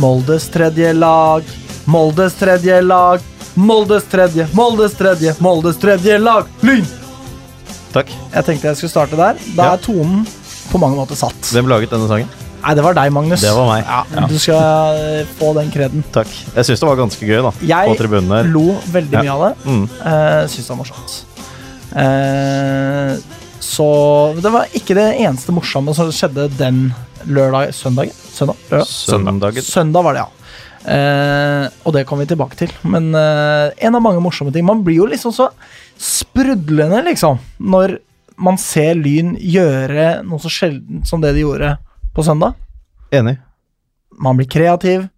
Moldes tredje lag, Moldes tredje lag, Moldes tredje, Moldes tredje, Moldes tredje lag, Lyn! Takk. Jeg tenkte jeg skulle starte der. Da Ja. er tonen på mange måter satt. Hvem laget denne sangen? Nei, det var deg, Magnus. Det var meg. Ja. Du skal eh, få den kreden. Takk. Jeg syns det var ganske gøy, da. på Jeg tribunen her. lo veldig Ja. mye av det. Mm. Uh, Syns det var morsomt. Eh, så Det var ikke det eneste morsomme som skjedde den lørdag Søndagen? Søndag? Lørdag? Søndagen. Søndag var det, ja. Eh, og det kommer vi tilbake til. Men eh, en av mange morsomme ting Man blir jo liksom så sprudlende, liksom, når man ser Lyn gjøre noe så sjeldent som det de gjorde på søndag. Enig. Man blir kreativ,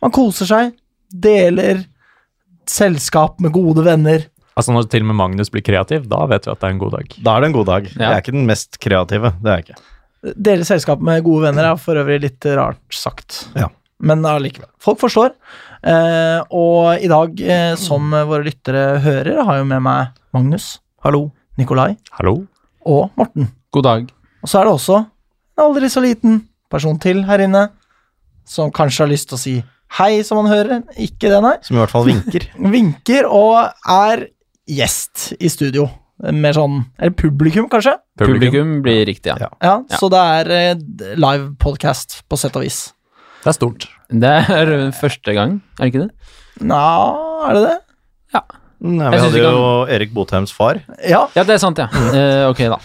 man koser seg, deler selskap med gode venner. Altså Når til og med Magnus blir kreativ, da vet vi at det er en god dag. Da er det en god dag. Jeg er ikke den mest kreative. Det er jeg ikke. Dele selskap med gode venner er for øvrig litt rart sagt. Ja. Men allikevel. Folk forstår. Eh, og i dag, eh, som våre lyttere hører, har jeg jo med meg Magnus, hallo, Nikolai Hallo? og Morten. God dag. Og så er det også en aldri så liten person til her inne, som kanskje har lyst til å si hei, som han hører. Ikke det, nei. Som i hvert fall vinker. Vinker og er gjest i studio. Mer sånn Eller publikum, kanskje? Publikum, blir riktig, ja. Ja. Ja, Ja. Så det er eh, live podcast på sett og vis. Det er stort. Det er første gang, er det ikke det? Nja, er det det? Nei, Jeg Mm, vi synes hadde ikke jo Erik Botheims far. Ja. Ja, det er sant, ja. Eh, ok, da.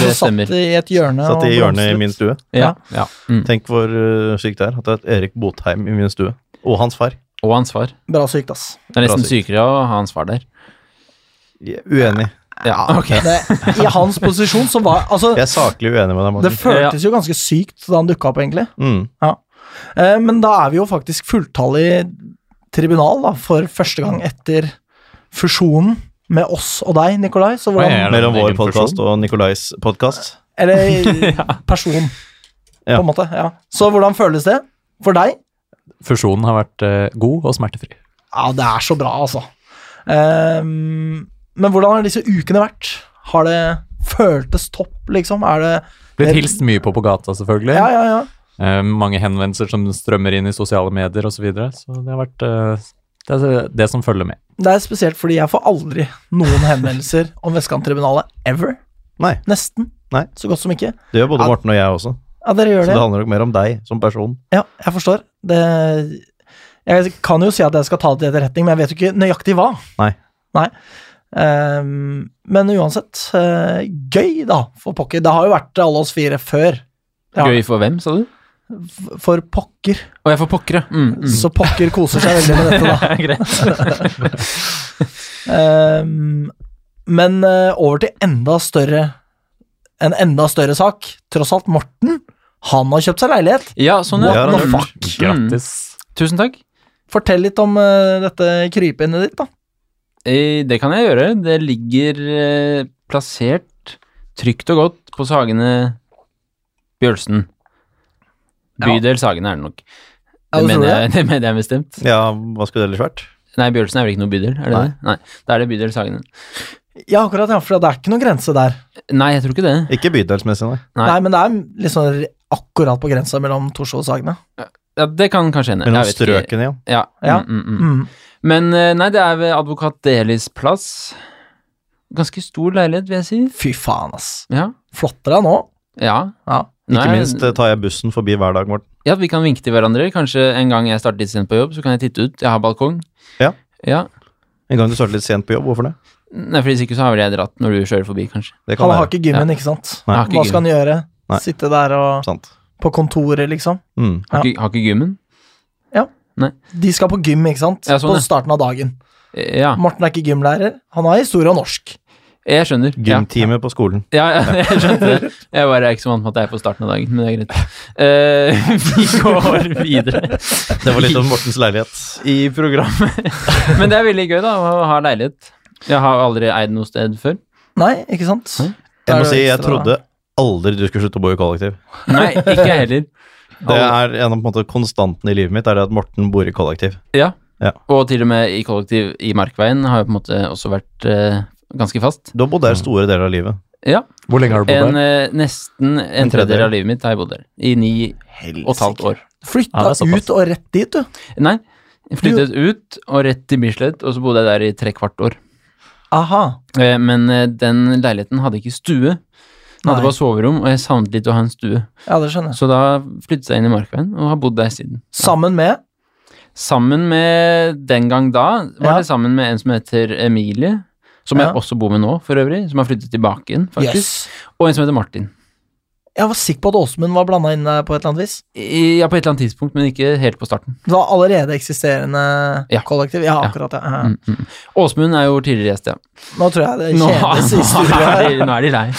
Det stemmer. Satt i et hjørne Satt i og hjørnet i blomstret. min stue. Ja, ja. Mm. Tenk hvor uh, sykt det er at det er Erik Botheim i min stue. Og hans far. Og hans far. Bra sykt, ass. Det er nesten Bra sykt. sykere å ha hans far der. Jeg er Uenig. Ja, Ah, ok. Det, I hans posisjon så var Altså, Jeg er saklig uenig med deg, det Magnus. føltes jo ganske sykt da han dukka opp, egentlig. Mm. Eh, men da er vi jo faktisk fulltallig tribunal, da, for første gang etter fusjonen med oss og deg, Nikolai. Så Oi, hvordan ja. Er det en Mellom vår egen podkast og Nikolais podkast. Eller person, Ja. på en måte. Ja. Så hvordan føles det for deg? Fusjonen har vært eh, god og smertefri. Ja, det er så bra, altså. Ehm, men hvordan har disse ukene vært? Har det føltes topp, liksom? Er det Blitt Det- hilst mye på på gata, selvfølgelig. Ja, ja, ja. Eh, mange henvendelser som strømmer inn i sosiale medier osv. Så, videre. så det har vært eh, det, er det som følger med. Det er spesielt fordi jeg får aldri noen henvendelser om Vestkanttribunalet ever. Nei, Nesten. Nei. Så godt som ikke. det gjør både Ja. Morten og jeg også. Ja, dere Så gjør det det. handler nok mer om deg som person. Ja, jeg forstår. Det Jeg kan jo si at jeg skal ta det til etterretning, men jeg vet jo ikke nøyaktig hva. Nei. Nei. Ehm, men uansett, eh, gøy, da, for pokker. Det har jo vært alle oss fire før. Ja. Gøy for hvem, sa du? For pokker. Å, jeg får pokker, ja. Mm, mm. Så pokker koser seg veldig med dette, da. Greit. Ehm, men eh, over til enda større en enda større sak. Tross alt, Morten han har kjøpt seg leilighet. Ja, sånn, Det ja. Mm. har What the han fuck? Grattis. Tusen takk. Fortell litt om eh, dette krypinnet ditt, da. Eh, Det kan jeg gjøre. Det ligger eh, plassert trygt og godt på Sagene Bjølsen. Ja. Bydel Sagene er det nok. Ja, du Det tror mener det? jeg, det mener jeg bestemt. Ja, hva skulle det ellers vært? Nei, Bjølsen er vel ikke noe bydel? Er det Nei. det? Nei. Da er det Bydel Sagene. Ja, akkurat, ja, for det er ikke noen grense der. Nei, jeg tror ikke det. Ikke bydelsmessig, nei. Nei, Nei. men det er liksom r- akkurat på grensa mellom Torshov og Sagene. Ja, det kan kanskje hende. Mellom Jeg vet ikke. strøkene, ja. Ja. Ja. Mm, mm, mm. Mm. Men eh, nei, det er ved advokat Delis plass. Ganske stor leilighet, vil jeg si. Fy faen, ass. Ja. Flotter deg nå. ja. Ja. Nå Ikke er- minst eh, tar jeg bussen forbi hver dag, Morten. Ja, vi kan vinke til hverandre. Kanskje en gang jeg starter litt sent på jobb, så kan jeg titte ut. Jeg har balkong. Ja. ja. En gang du starter litt sent på jobb, hvorfor det? Nei, for hvis ikke så har vel jeg dratt når du kjører forbi, kanskje. Det kan Han være har ikke gymmen, ikke sant? Nei. Har ikke Hva skal han gjøre? Nei. Sitte der og sant. på kontoret, liksom? Mm. Har, ikke, har ikke gymmen? De skal på gym, ikke sant? Ja, sånn, ja. På starten av dagen. Eh, Ja, Morten er ikke gymlærer. Han har historie og norsk. jeg skjønner. Ja. Gymtime på skolen. Ja, ja, jeg skjønte det. Jeg bare er ikke så vant med at jeg er på starten av dagen, men det er greit. Eh, vi går videre Det var litt om Mortens leilighet. i programmet. Men det er veldig gøy, da, å ha leilighet. Jeg har aldri eid noe sted før. Nei, ikke sant? Nei. Jeg Da er må det si, jo jeg ekstra- trodde aldri du skulle slutte å bo i kollektiv. Nei, ikke jeg heller. Det er en av på en måte, konstantene i livet mitt, er det at Morten bor i kollektiv. Ja. Ja. Og til og med i kollektiv i Markveien har jeg på en måte også vært eh, ganske fast. Du har bodd der store deler av livet. Ja. Hvor lenge har du bodd En, der? eh, nesten en, tredjedel. tredjedel av livet mitt har jeg bodd der. I ni og et halvt år. Flytta Ja, det er såpass. ut og rett dit, du. Nei, jeg flyttet ut og rett til Bislett, og så bodde jeg der i tre kvart år. Aha. Eh, Men eh, den leiligheten hadde ikke stue. Den Nei. hadde bare soverom, og jeg savnet litt å ha en stue. Ja, det skjønner jeg. Så da flyttet jeg inn i Markveien og har bodd der siden. Sammen med Sammen med Den gang da var Ja. det sammen med en som heter Emilie, som Ja. jeg også bor med nå, for øvrig, som har flyttet tilbake inn, faktisk. Jøss. Og en som heter Martin. Jeg var sikker på at Åsmund var blanda inn der på et eller annet vis. I, ja, på et eller annet tidspunkt, men ikke helt på starten. Det var allerede eksisterende Ja. kollektiv. Ja, Ja. akkurat, ja. ja. Mm, mm. Åsmund er jo tidligere gjest, ja. Nå tror jeg det Nå, kjedes i nå, studio er her. de, nå er de lei.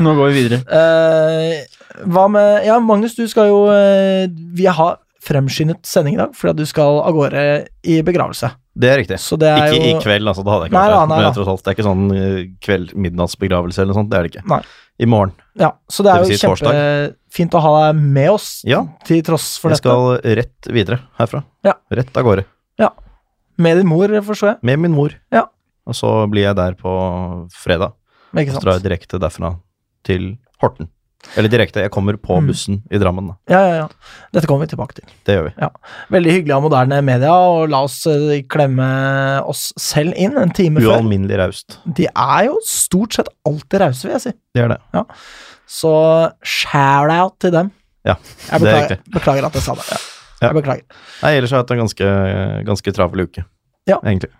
Nå går vi videre. Eh, hva med Ja, Magnus, du skal jo eh, Vi har fremskyndet sending i dag fordi at du skal av gårde i begravelse. Det er riktig. Så det er Ikke jo i kveld, altså. Det hadde jeg ikke Nei vært da, der, nei da. men tross alt, det er ikke sånn eh, kveld, midnattsbegravelse eller noe sånt. Det er det ikke. Nei. I morgen. Ja, så det er Det vil jo si torsdag. kjempefint å ha deg med oss, Ja. til tross for Jeg dette. skal rett videre herfra. Ja. Rett av gårde. Med din mor, forstår jeg. Med min mor. Ja. Og så blir jeg der på fredag. Ikke Og så drar sant? jeg direkte derfra til Horten. Eller direkte, jeg kommer på Mm. bussen i Drammen, da. Ja, ja, ja. Dette kommer vi tilbake til. Det gjør vi. Veldig hyggelig av moderne media, og la oss eh, klemme oss selv inn en time før. Ualminnelig raust. De er jo stort sett alltid rause, vil jeg si. Det er det. Så shout-out til dem. Ja, jeg det er beklager, beklager at jeg sa det. Ja. Ja. Jeg beklager. Nei, ellers har jeg hatt en ganske, ganske travel uke, Ja. egentlig.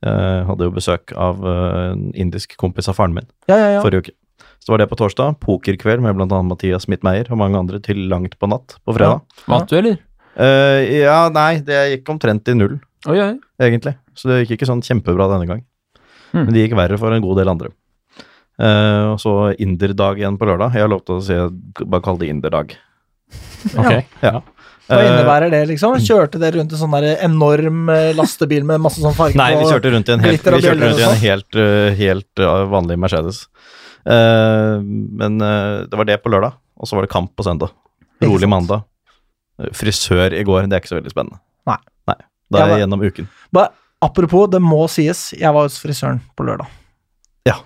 Jeg hadde jo besøk av eh, en indisk kompis av faren min Ja, ja, ja. forrige uke. Så var det på torsdag. Pokerkveld med bl.a. Mathias Midtmeier og mange andre til langt på natt på fredag. Vant du, eller? Eh, ja, nei, det gikk omtrent i null, Oi, oi. egentlig. Så det gikk ikke sånn kjempebra denne gang. Mm. Hmm. Men det gikk verre for en god del andre. Eh, og så inderdag igjen på lørdag. Jeg har lov til å si bare kalle det inderdag. Ok. Hva Eh, innebærer det, liksom? Kjørte dere rundt en sånn der enorm eh, lastebil med masse sånn farge Nei, vi på? kjørte rundt i en helt, glitter og vi kjørte bjeller rundt i og en helt, øh, helt øh, vanlig Mercedes. Eh, men øh, det var det på lørdag, og så var det kamp på søndag. Ikke Rolig sant. mandag. Eh, Frisør i går, det er ikke så veldig spennende. Nei. Da er Ja, jeg gjennom uken. Bare, apropos, det må sies, jeg var hos frisøren på lørdag. Ja.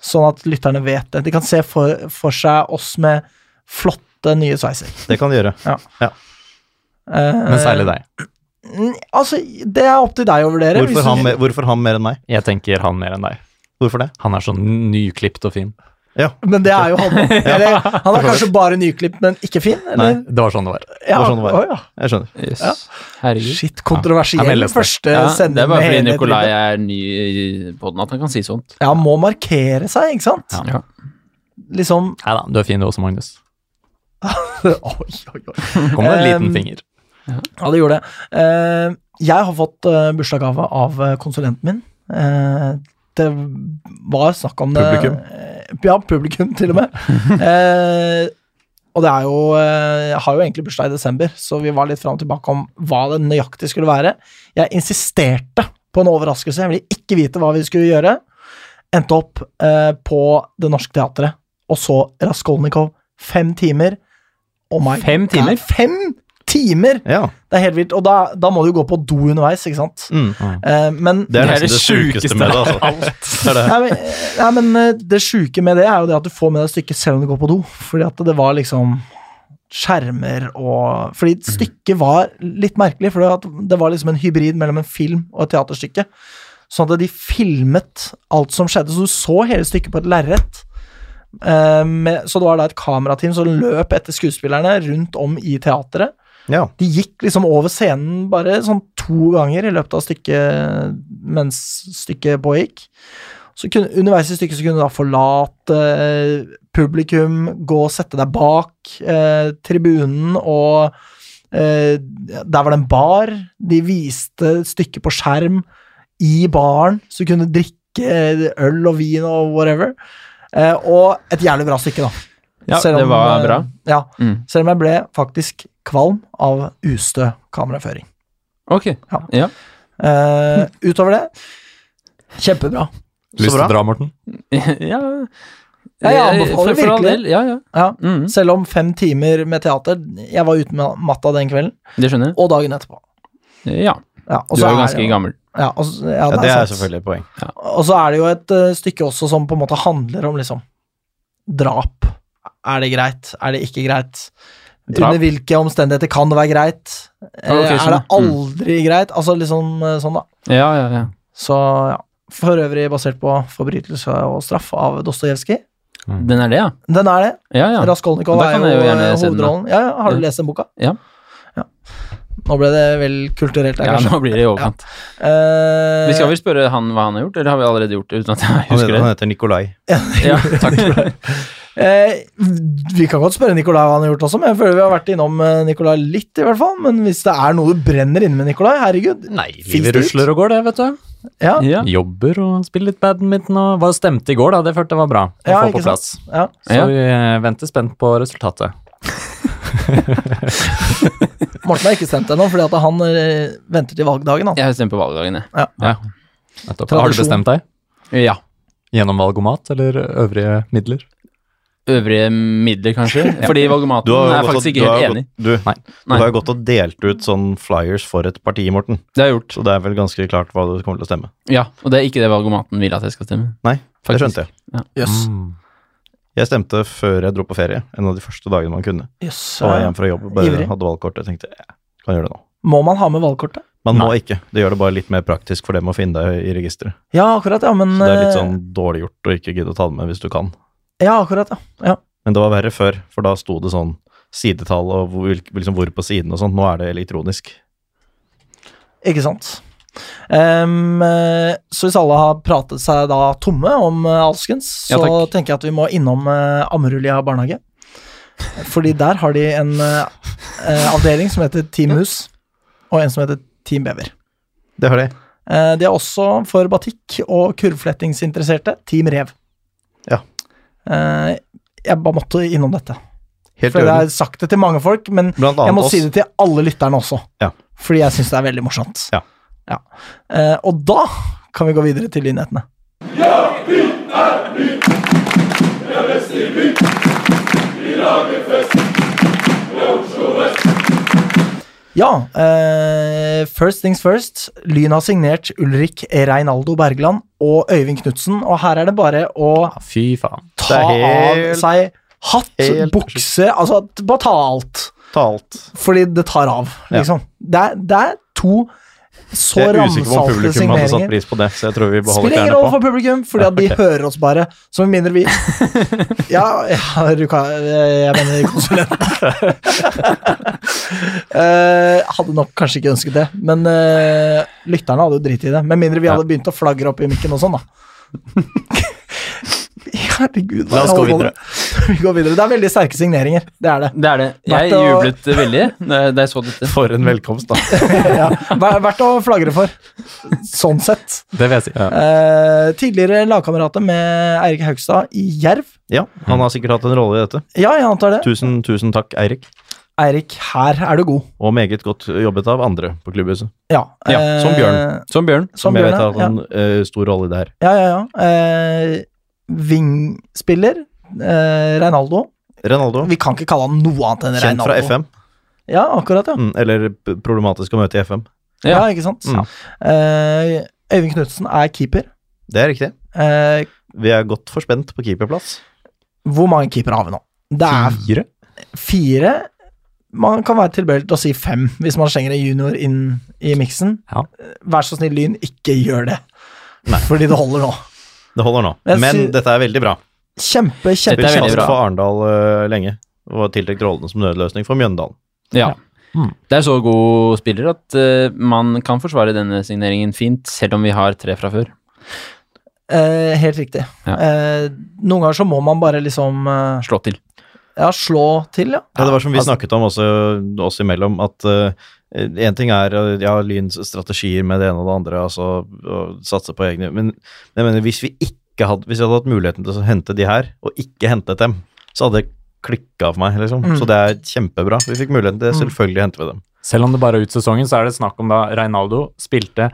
Sånn at lytterne vet det. De kan se for, for seg oss med flotte, nye sveiser. Det kan du gjøre. Eh, Men særlig deg. mm, Altså, det er opp til deg å vurdere. hvis du- Hvorfor han, mer- hvorfor han mer enn meg? Jeg tenker han mer enn deg. Hvorfor det? Han er sånn nyklipt og fin. Men det er jo han. Eller, han er kanskje bare nyklipt, men ikke fin? Eller? Nei. Det var sånn det var. Ja, var sånn det var. å ja. Jeg skjønner. Yes. Ja. Herregud. Shit, kontroversiell Ja, han melder seg. første Ja, sending. det er bare med fordi hele Nikolai drivet. er ny i podden at han kan si sånt. Ja, må markere seg, ikke sant? Ja. Liksom Nei da, du er fin du også, Magnus. Oi, oi, oi. Kom med en Um, liten finger. Ja, det gjorde det. Eh, jeg har fått eh, bursdagsgave av eh, konsulenten min. Eh, det var snakk om det Publikum? Eh, ja, publikum, til og med. Eh, og det er jo eh, Jeg har jo egentlig bursdag i desember, så vi var litt fram og tilbake om hva det nøyaktig skulle være. Jeg insisterte på en overraskelse, jeg ville ikke vite hva vi skulle gjøre. Endte opp eh, på Det Norske Teatret, og så Raskolnikov. Fem timer. Oh my Fem God. timer? Fem timer! Ja. Det er helt vilt. Og da, da må du gå på do underveis, ikke sant? Mm. Eh, men Det er Det nesten er det det sjukeste sjukeste med det. Altså. Det er det. Nei, men, nei, men eh, det sjuke med det er jo det at du får med deg stykket selv om du går på do. Fordi at det var liksom skjermer og Fordi Mhm. stykket var litt merkelig, for det var liksom en hybrid mellom en film og et teaterstykke. Sånn at de filmet alt som skjedde, så du så hele stykket på et lerret. Eh, med- Så det var da et kamerateam som løp etter skuespillerne rundt om i teatret. Ja. De gikk liksom over scenen bare sånn to ganger i løpet av stykket mens stykket pågikk. Så kunne, underveis i stykket så kunne du da forlate eh, publikum, gå og sette deg bak eh, tribunen og eh, Der var det en bar. De viste stykket på skjerm i baren, så du kunne drikke eh, øl og vin og whatever. Eh, og et jævlig bra stykke, da. Ja, Selv det om, var eh, bra. Ja, Mm. selv om jeg ble faktisk kvalm av ustø kameraføring. Ok. Ja. Ja. Eh, utover det kjempebra. Lyst til bra. å dra, Morten? ja. Eh, Ja, jeg anbefaler For- for all virkelig. del, Ja, ja. Ja. Mm. Selv om fem timer med teater Jeg var utmatta den kvelden, Det skjønner jeg. og dagen etterpå. Ja. Ja, og Du så er jo det ganske jo- gammel. Ja, og, så- ja, ja, det, det er er sant. selvfølgelig et poeng. Og så er det jo et eh, stykke også som på en måte handler om liksom drap. Er det greit? Er det ikke greit? Under hvilke omstendigheter kan det være greit? Eh, ok, er det skjønner. aldri greit? Altså liksom eh, sånn, da. Ja, ja, ja. Så ja. For øvrig basert på 'Forbrytelse og straff' av Dostojevskij. Den er det, ja? Den er det. Ja, ja. Raskolnikov Da er kan jo jeg jo eh, gjerne se den, da. hovedrollen. Ja, ja, har du Ja. lest den boka? Ja. Ja. Nå ble det vel kulturelt der, ja kanskje. nå blir det i overkant. Eh, Vi skal vel spørre han hva han har gjort, eller har vi allerede gjort det uten at jeg Han husker heter, det? han heter Nikolai. Ja, takk for det. eh, vi kan godt spørre Nikolai hva han har gjort også, men jeg føler vi har vært innom eh, Nikolai litt, i hvert fall. Men hvis det er noe du brenner inne med Nikolai, herregud. Nei, Finnes det livet ut? rusler og går, det, vet du. Ja, Ja. Jobber og spiller litt badminton og Hva stemte i går, da? Det følte jeg var bra å Ja, få ikke på plass. ja. Så Ja. vi eh, venter spent på resultatet. Morten har ikke stemt ennå, fordi at han eh, venter til valgdagen. Han. Jeg har stemt på valgdagen, jeg. Nettopp. Har du Tradisjon. bestemt deg? Ja. Gjennom valgomat eller øvrige midler? Øvrige midler, kanskje? Fordi valgomaten er gått og- faktisk du ikke har helt gått- enig. Du, Nei. du har jo gått og delt ut sånn flyers for et parti, Morten. Det har jeg gjort. Så det er vel ganske klart hva du kommer til å stemme. Ja, og det er ikke det valgomaten vil at jeg skal stemme. Nei, det Faktisk. skjønte jeg. Jøss. Mm. Jeg stemte før jeg dro på ferie, en av de første dagene man kunne. Jøss, Så var jeg eh, hjemme fra jobb, bare Ivrig. hadde valgkortet. Jeg tenkte jeg kan gjøre det nå. Må man ha med valgkortet? Man må ikke. Det gjør det bare litt mer praktisk for dem å finne deg i registeret. Ja, akkurat, ja. Men Så det er litt eh, sånn dårlig gjort å ikke gidde å ta det med hvis du kan. Ja, akkurat, ja. ja. Men det var verre før, for da sto det sånn sidetall og hvor, liksom hvor på siden og sånt. Nå er det elektronisk. Ikke sant. Ehm, eh, så hvis alle har pratet seg da tomme om eh, alskens, Ja, så takk. tenker jeg at vi må innom eh, Ammerulia barnehage. Fordi der har de en eh, eh, avdeling som heter Team Mus, og en som heter Team Bever. Det har de. Eh, de er også for batikk og kurvflettingsinteresserte Team Rev. Ja. Eh, jeg bare måtte innom dette. Helt i For jeg har orden. sagt det til mange folk, men Blant jeg må annet oss. si det til alle lytterne også, Ja. fordi jeg syns det er veldig morsomt. Ja. Ja. Eh, og da kan vi gå videre til nyhetene. Ja, eh, first things first. Lyn har signert Ulrik Reinaldo Bergland og Øyvind Knutsen, og her er det bare å Ja, Fy faen. ta Det er helt- av seg hatt, helt- bukse Altså, bare ta alt. Ta alt. Fordi det tar av, Ja. liksom. Det, er, det er to så Jeg er usikker på om ramsalte publikum hadde satt signeringer. pris på det, så jeg tror vi beholder Spiller ingen klærne rolle på. for publikum, fordi at de ok. hører oss bare. Så med mindre vi Ja, ja du kan, jeg mener konsulenten. Eh, hadde nok kanskje ikke ønsket det, men eh, lytterne hadde jo driti i det. Med mindre vi hadde begynt å flagre opp i mikken og sånn, da. Herregud. La oss gå videre. Vi går videre. Det er veldig sterke signeringer. Det er det. Det er det. Verdt Jeg å- jublet veldig da jeg- da jeg så dette. For en velkomst, da. ja, ver- verdt å flagre for. Sånn sett. Det vil jeg si. Eh, tidligere lagkamerater med Eirik Haugstad i Jerv. Ja, han har sikkert hatt en rolle i dette. Ja, jeg antar det. Tusen, tusen takk, Eirik. Eirik, her er du god. Og meget godt jobbet av andre på klubbhuset. Ja, Ja, eh, som Bjørn. Som Bjørn. Som Som jeg Bjørn, vet har hatt ja. en eh, stor rolle i det her. ja, ja, ja. Eh, Vingspiller eh, Reinaldo. Renaldo. Vi kan ikke kalle han noe annet enn Kjent Reinaldo. fra FM. Ja, akkurat, ja. Mm, eller p- problematisk å møte i FM. Ja, Ja. ikke sant. Mm. Eh, Øyvind Knutsen er keeper. Det er riktig. Eh, Vi er godt forspent på keeperplass. hvor mange keepere har vi nå? Det er Fire? fire. Man kan være tilbøyelig til å si fem hvis man slenger en junior inn i miksen. Ja. Vær så snill, Lyn, ikke gjør det. Fordi det holder nå. Det holder nå. Jeg Men sy- dette er veldig bra. Kjempe, Dette kjempe er veldig Kjempekjent bra. for Arendal eh, lenge. Og har tiltenkt rollen som nødløsning for Mjøndalen. Ja. Mm. Det er så god spiller at eh, man kan forsvare denne signeringen fint, selv om vi har tre fra før. Eh, helt riktig. Ja. Eh, noen ganger så må man bare liksom eh, Slå til. Ja, slå til, ja. Ja, det var som vi altså- snakket om også oss imellom, at én ting er eh, ja, Lyns strategier med det ene og det andre, altså å satse på egne Men jeg mener, hvis vi ikke hadde Hvis jeg hadde hatt muligheten til å hente de her, og ikke hentet dem, så hadde det klikka for meg, liksom. Mm. Så det er kjempebra. Vi fikk muligheten til det, selvfølgelig henter vi dem. Selv om det bare er ut sesongen, så er det snakk om da Reinaldo spilte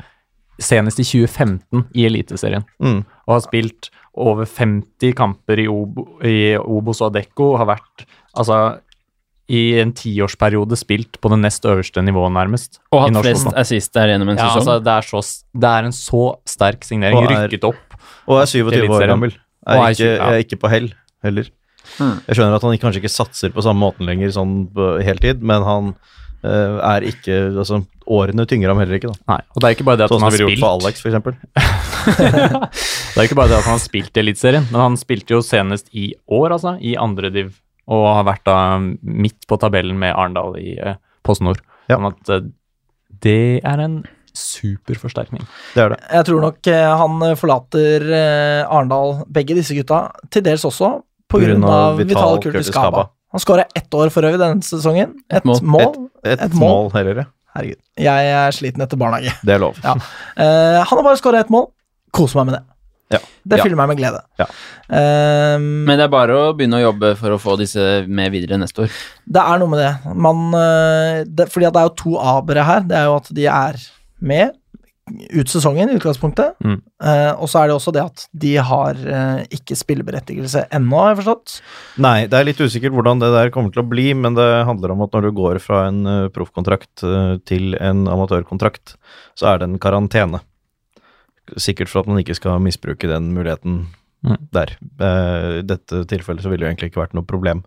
senest i 2015 i Eliteserien. Mm. Og har spilt over 50 kamper i, Obo, i Obos og Adecco. Har vært altså i en tiårsperiode spilt på det nest øverste nivået, nærmest. Og i hatt norsk flest fotball. assist der gjennom en ja, sesong. altså, det, er så, s- det er en så sterk signering. Og er- Rykket opp. Og er 27 år Eliteserien. gammel. Er Og er ikke, tjue- ja. er ikke på hell heller. Mm. Jeg skjønner at han ikke- kanskje ikke satser på samme måten lenger sånn på heltid, men han eh, er ikke altså, Årene tynger ham heller ikke, da. Nei, og det er ikke bare det at Sånn som han har vi ville gjort for spilt Alex, for eksempel. Det er ikke bare det at han har spilt i Eliteserien, men han spilte jo senest i år, altså, i andre div, og har vært da midt på tabellen med Arendal i eh, PostNord. Ja. Sånn at eh, det er en superforsterkning. Det er det. Jeg tror nok eh, han forlater eh, Arendal, begge disse gutta, til dels også På grunn av pga. Vital Vital Kurtis Kurtis Kaba. Kaba. Han skåra ett år for øvrig denne sesongen. Et, Et mål. mål. Et, Et mål. mål heller, ja. Herregud, jeg er sliten etter barnehage. Det er lov. Ja. Eh, han har bare skåra ett mål. Kos meg med det. Ja. Det Ja. fyller meg med glede. Ja. Eh, Men det er bare å begynne å jobbe for å få disse med videre neste år. det er noe med det. Man, eh, det fordi at det er jo to abere her. Det er jo at de er med ut sesongen i utgangspunktet. Mm. Eh, og så er det også det at de har eh, ikke spilleberettigelse ennå, har jeg forstått. Nei, det er litt usikkert hvordan det der kommer til å bli, men det handler om at når du går fra en eh, proffkontrakt eh, til en amatørkontrakt, så er det en karantene. Sikkert for at man ikke skal misbruke den muligheten Mm. der. Eh, I dette tilfellet så ville det jo egentlig ikke vært noe problem,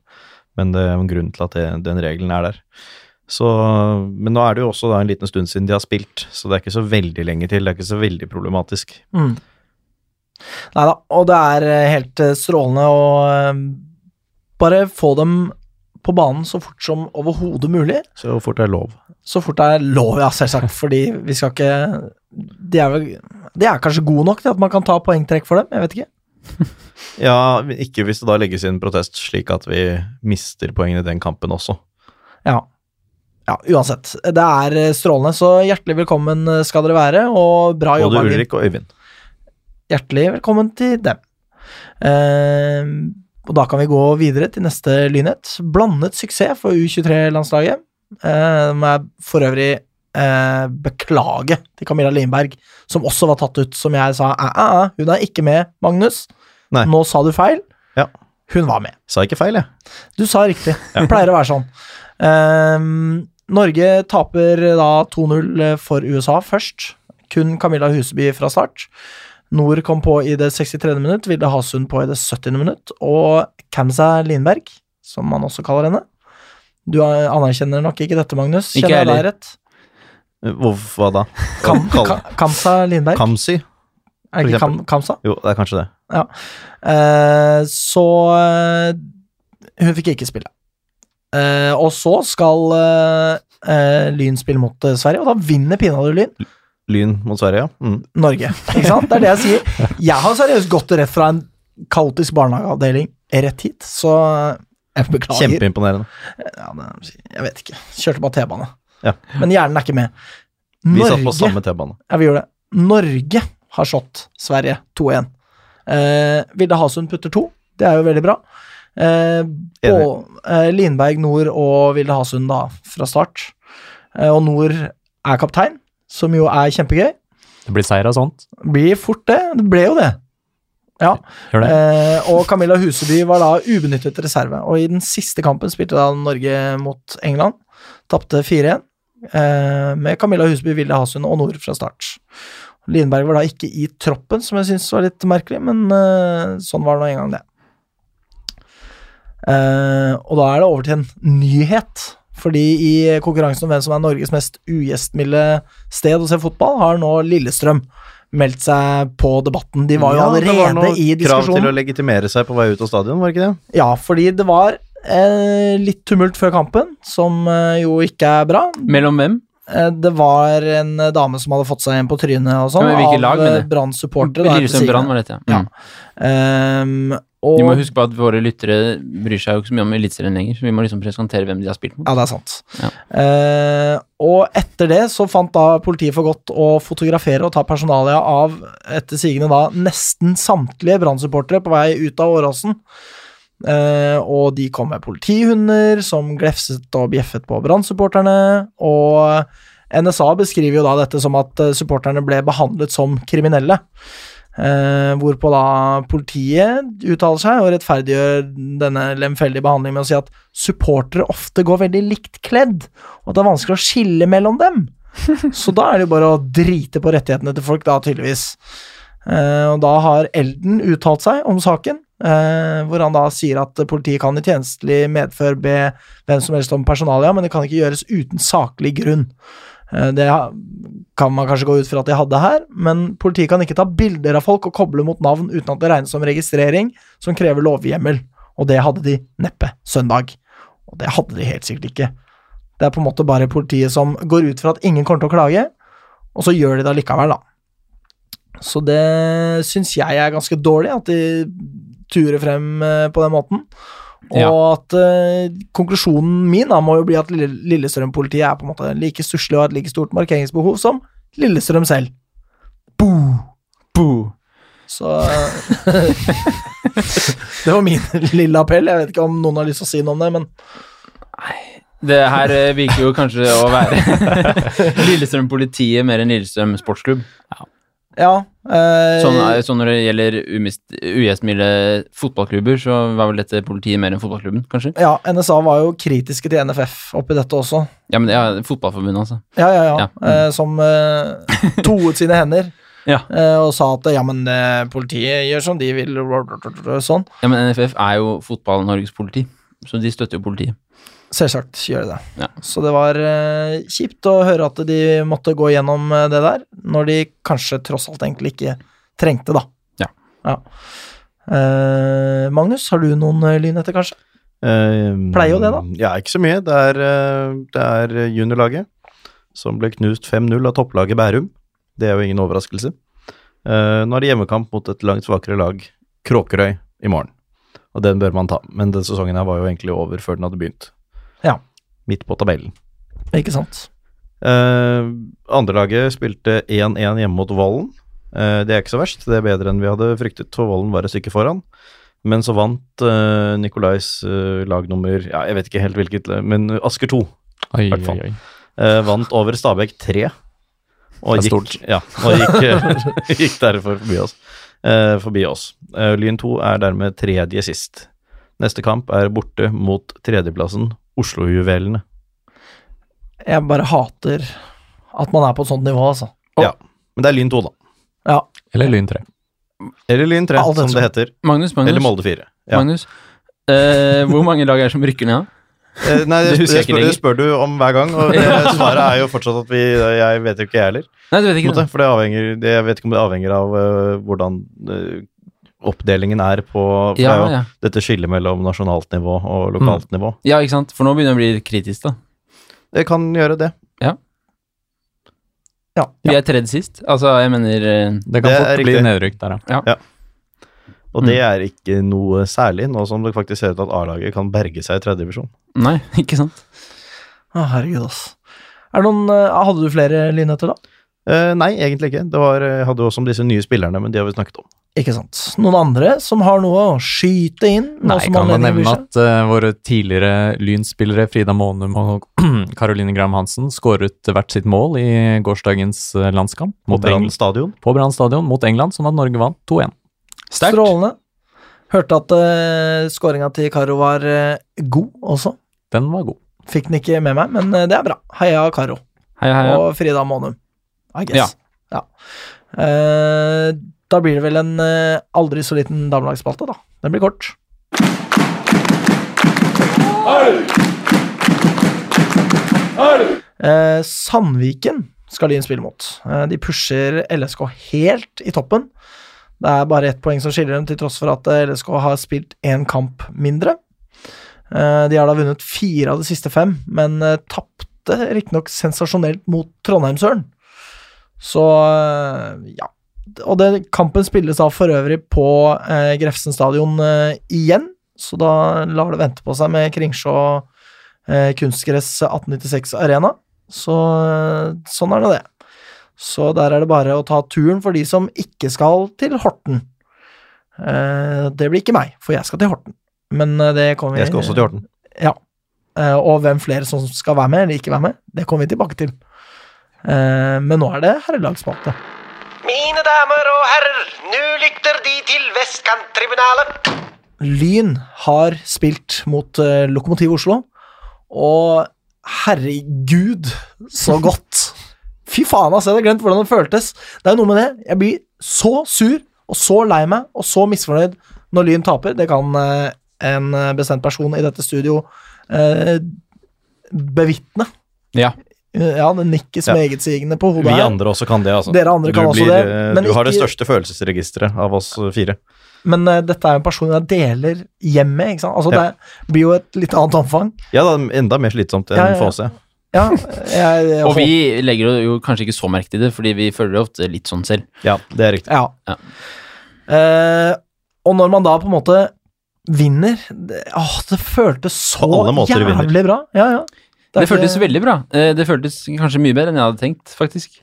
men det er en grunn til at det, den regelen er der. Så, men nå er det jo også da en liten stund siden de har spilt, så det er ikke så veldig lenge til. Det er ikke så veldig problematisk. Mm. Nei da, og det er eh, helt eh, strålende å eh, bare få dem på banen så fort som overhodet mulig. Så fort det er lov. Så fort det er lov, ja, selvsagt, fordi vi skal ikke De er vel De er kanskje gode nok til at man kan ta poengtrekk for dem, jeg vet ikke. Ja, men ikke hvis det da legges inn protest slik at vi mister poengene i den kampen også. Ja. ja, uansett. Det er eh, strålende, så hjertelig velkommen eh, skal dere være, og bra Både jobba. Glimt. Ulrik og Øyvind. Hjertelig velkommen til dem. Eh, og da kan vi gå videre til neste lynhet. Blandet suksess for U23-landslaget. Eh, må jeg for øvrig eh, beklage til Camilla Lindberg, som også var tatt ut, som jeg sa æ, æ, æ, hun er ikke med, Magnus. Nei. Nå sa du feil. Ja. Hun var med. Sa ikke feil, jeg. Du sa riktig. Det pleier å være sånn. Ehm, Norge taper da 2-0 for USA først. Kun Camilla Huseby fra start. Nord kom på i det 63. minutt, Vilde Hasund på i det 70. minutt, og Kamza Lindberg, som man også kaller henne. Du anerkjenner nok ikke dette, Magnus? Ikke Kjenner jeg deg heller. rett? Hvorfor- Hva da? Kam, Kall- Ka- Kamza Lindberg? Kamsi? er det for ikke kam, Kamza? Jo, det er kanskje det. Eh, så eh, hun fikk ikke spille. Eh, og så skal eh, eh, Lyn spille mot eh, Sverige, og da vinner pinadø Lyn Lyn mot Sverige, ja. Mm. Norge. Ikke sant? Det er det jeg sier. Jeg har seriøst gått rett fra en kaotisk barnehageavdeling rett hit, så jeg beklager. Kjempeimponerende. Ja, det, jeg vet ikke. Kjørte bare T-bane. Ja. Men hjernen er ikke med. Vi satt på samme T-bane. Ja, vi gjorde det. Norge har slått Sverige 2-1. Eh, Vilde Hasund putter to. Det er jo veldig bra. Eh, og, eh, Lindberg, Nord og Vilde Hasund da, fra start. Eh, og Nord er kaptein, som jo er kjempegøy. Det blir seier av sånt. Blir fort det. Det ble jo det. Ja. Gjør det. Eh, og Camilla Huseby var da ubenyttet reserve. Og i den siste kampen spilte da Norge mot England. Tapte 4-1 eh, med Camilla Huseby, Vilde Hasund og Nord fra start. Lindberg var da ikke i troppen, som jeg syns var litt merkelig, men eh, sånn var det nå en gang, det. Eh, og da er det over til en nyhet. Fordi i konkurransen om hvem som er Norges mest ugjestmilde sted å se fotball, har nå Lillestrøm meldt seg på debatten. De var jo Ja, det allerede var i noe Krav til å diskusjonen. legitimere seg på vei ut av stadion, var det ikke det? Ja, fordi det var eh, litt tumult før kampen, som eh, jo ikke er bra. Mellom hvem? Eh, det var en eh, dame som hadde fått seg en på trynet og sånn, Ja, men hvilket lag, av eh, mener du? Brann-supportere. da, etter Lillestrøm sigende. Brann var dette, ja. Ja. Mm. Ehm, og, Vi må huske på at våre lyttere bryr seg jo ikke så mye om Eliteserien lenger, så vi må liksom presentere hvem de har spilt mot. Ja, det er sant. Ja. Eh, og etter det så fant da politiet for godt å fotografere og ta personalia av etter sigende da nesten samtlige Brann-supportere på vei ut av Åråsen. Eh, og de kom med politihunder som glefset og bjeffet på Brann-supporterne. Og NSA beskriver jo da dette som at eh, supporterne ble behandlet som kriminelle. Eh, hvorpå da politiet uttaler seg og rettferdiggjør denne lemfeldige behandlingen med å si at supportere ofte går veldig likt kledd, og at det er vanskelig å skille mellom dem. Så da er det jo bare å drite på rettighetene til folk, da, tydeligvis. Eh, og da har Elden uttalt seg om saken. eh, hvor han da sier at politiet kan i tjenestelig medfør be hvem som helst om personalia, men det kan ikke gjøres uten saklig grunn. Eh, Det ha- kan man kanskje gå ut fra at de hadde her, men politiet kan ikke ta bilder av folk og koble mot navn uten at det regnes som registrering, som krever lovhjemmel. Og det hadde de neppe søndag. Og det hadde de helt sikkert ikke. Det er på en måte bare politiet som går ut fra at ingen kommer til å klage, og så gjør de det allikevel, da. Så det syns jeg er ganske dårlig, at de turer frem eh, på den måten. Og Ja. at eh, konklusjonen min da må jo bli at Lille- Lillestrøm-politiet er på en måte like stusslig og har et like stort markeringsbehov som Lillestrøm selv. Boo! Boo. Så eh, Det var min lille appell. Jeg vet ikke om noen har lyst til å si noe om det, men Det her eh, virker jo kanskje å være Lillestrøm politiet mer enn Lillestrøm sportsklubb. ja. eh, Sånn, er- sånn når det gjelder umist- ugjestmilde fotballklubber, så var vel dette politiet mer enn fotballklubben, kanskje? ja, NSA var jo kritiske til NFF oppi dette også. Ja, men ja, fotballforbundet, altså. Ja, ja, ja. Ja. Eh, som eh, toet sine hender Ja. eh, og sa at ja, men eh, politiet gjør som de vil, sånn. Ja, men NFF er jo fotball-Norges politi, så de støtter jo politiet. Selvsagt gjør de det. Ja. Så det var eh, kjipt å høre at de måtte gå gjennom eh, det der, når de kanskje tross alt egentlig ikke trengte, da. Ja. Eh, Magnus, har du noen eh, lyn etter, kanskje? Eh, Pleier jo det, da. Ja, ikke så mye. Det er, eh, det er juniorlaget som ble knust 5-0 av topplaget Bærum. Det er jo ingen overraskelse. Eh, Nå er det hjemmekamp mot et langt svakere lag, Kråkerøy, i morgen. Og den bør man ta. Men den sesongen her var jo egentlig over før den hadde begynt. Ja. Midt på tabellen. Ikke sant? Eh, Andrelaget spilte 1-1 hjemme mot Vollen. Eh, det er ikke så verst, det er bedre enn vi hadde fryktet, for Vollen var et stykke foran. Men så vant eh, Nikolais eh, lag nummer ja, Jeg vet ikke helt hvilket, men Asker 2 Oi, hvert fall. eh, vant over Stabæk 3. Og Det er gikk, ja, og gikk, eh, gikk derfor forbi oss. Eh, forbi oss. Eh, Lyn 2 er dermed tredje sist. Neste kamp er borte mot tredjeplassen, Oslojuvelene. Jeg bare hater at man er på et sånt nivå, altså. Men det er Lyn 2, da. Ja. Eller Lyn 3. Eller Lyn 3, Alt som ettersom. det heter. Magnus, Magnus, Eller Molde 4. Ja. Magnus. Eh, hvor mange lag er det som rykker ned? da? Eh, Nei, det, Det det, husker jeg ikke spør, det spør du om hver gang, og det, svaret er jo fortsatt at vi Jeg vet jo ikke, jeg heller. Nei, du på vet en ikke måte, det. For det avhenger det, Jeg vet ikke om det avhenger av eh, hvordan eh, oppdelingen er på for det Ja, er Mm. jo ja. dette skillet mellom nasjonalt nivå og lokalt nivå. ja, ikke sant? For nå begynner det å bli kritisk, da. Det kan gjøre det. Vi er tredje sist. Altså, jeg mener eh, Det kan Det er fort bli riktig. nedrykk der, ja. Og det Mm. er ikke noe særlig, nå som det faktisk ser ut til at A-laget kan berge seg i tredje divisjon. Nei, ikke sant? Å, herregud, ass. Er det noen, eh, hadde du flere lyn etter, da? Eh, nei, egentlig ikke. Det var, jeg hadde jo også om disse nye spillerne, men de har vi snakket om. Ikke sant. Noen andre som har noe å skyte inn? noe Nei, som kan har man mening i nevne seg? at eh, våre tidligere Lyn-spillere Frida Månum og Caroline Graham Hansen skåret hvert sitt mål i gårsdagens eh, landskamp mot Mot Brann England, stadion. på Brann stadion mot England, sånn at Norge vant 2-1. Sterkt. Strålende. Hørte at uh, skåringa til Karo var eh, god også. Den var god. Fikk den ikke med meg, men eh, det er bra. Heia Karo. Heia, heia. Og Frida Månum. I guess. Ja. Eh, da blir det vel en eh, aldri så liten damelagsspalte, da. Den blir kort. Eh, Sandviken skal Lyn spille mot. Eh, de pusher LSK helt i toppen. Det er bare ett poeng som skiller dem, til tross for at eh, LSK har spilt én kamp mindre. Eh, De har da vunnet fire av de siste fem, men eh, tapte riktignok sensasjonelt mot Trondheimsøren. Så eh, ja. Og det, kampen spilles da for øvrig på eh, Grefsen stadion eh, igjen, så da lar det vente på seg med Kringsjå eh, kunstgress 1896 Arena. Så eh, sånn er nå det. Så der er det bare å ta turen for de som ikke skal til Horten. Eh, det blir ikke meg, for jeg skal til Horten. Men eh, det kommer Jeg skal også til Horten. ja. Eh, og hvem flere som skal være med eller ikke være med, det kommer vi tilbake til. Eh, men nå er det herrelagsspalte. Mine damer og herrer, nå lytter De til Vestkanttribunalet. Lyn har spilt mot eh, Lokomotiv Oslo, og herregud, så godt! Fy faen, ass, jeg hadde glemt hvordan det føltes. Det er jo noe med det. Jeg blir så sur og så lei meg og så misfornøyd når Lyn taper. Det kan eh, en eh, bestemt person i dette studio eh, bevitne. Ja. Eh, Ja, det nikkes Ja. megetsigende på hodet. Vi her. andre også kan det, altså. Dere andre kan du også blir, det, eh, men du har det ikke- største følelsesregisteret av oss fire. Men eh, dette er jo en person jeg deler hjem med. ikke sant? Altså, Ja. Det blir jo et litt annet omfang. Ja, da, enda mer slitsomt enn Ja, ja, ja. Fåse. Ja, jeg, jeg, Og vi legger jo kanskje ikke så merke til det, fordi vi føler det ofte litt sånn selv. Ja, det er riktig. Ja. Ja. Eh, og når man da på en måte vinner Det, åh, det føltes så På alle måter vinner. jævlig bra. Ja, ja. er Det føltes ikke- veldig bra. Eh, Det føltes kanskje mye bedre enn jeg hadde tenkt, faktisk.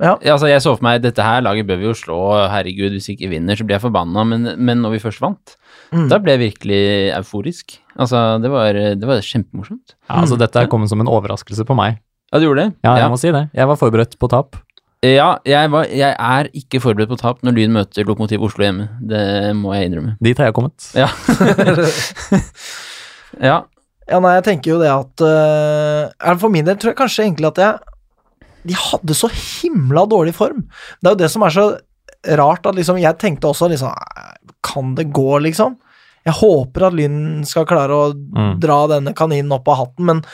Ja. Altså, jeg så for meg dette her laget bør vi jo slå, herregud, hvis vi ikke vinner, så blir jeg forbanna, men, men når vi først vant, Mm. da ble jeg virkelig euforisk. Altså, det var, det var kjempemorsomt. Ja, altså, dette er kommet som en overraskelse på meg. Ja, du gjorde det? Ja, jeg må si det. Jeg var forberedt på tap. Ja, jeg, var, jeg er ikke forberedt på tap når Lyn møter Lokomotiv Oslo hjemme. Det må jeg innrømme. Dit har jeg kommet. Ja. ja. Ja, nei, jeg tenker jo det at eh, eller For min del tror jeg kanskje egentlig at jeg De hadde så himla dårlig form. Det er jo det som er så rart, at liksom Jeg tenkte også liksom "Nei, Kan det gå, liksom? Jeg håper at Lyn skal klare å Mm. dra denne kaninen opp av hatten, men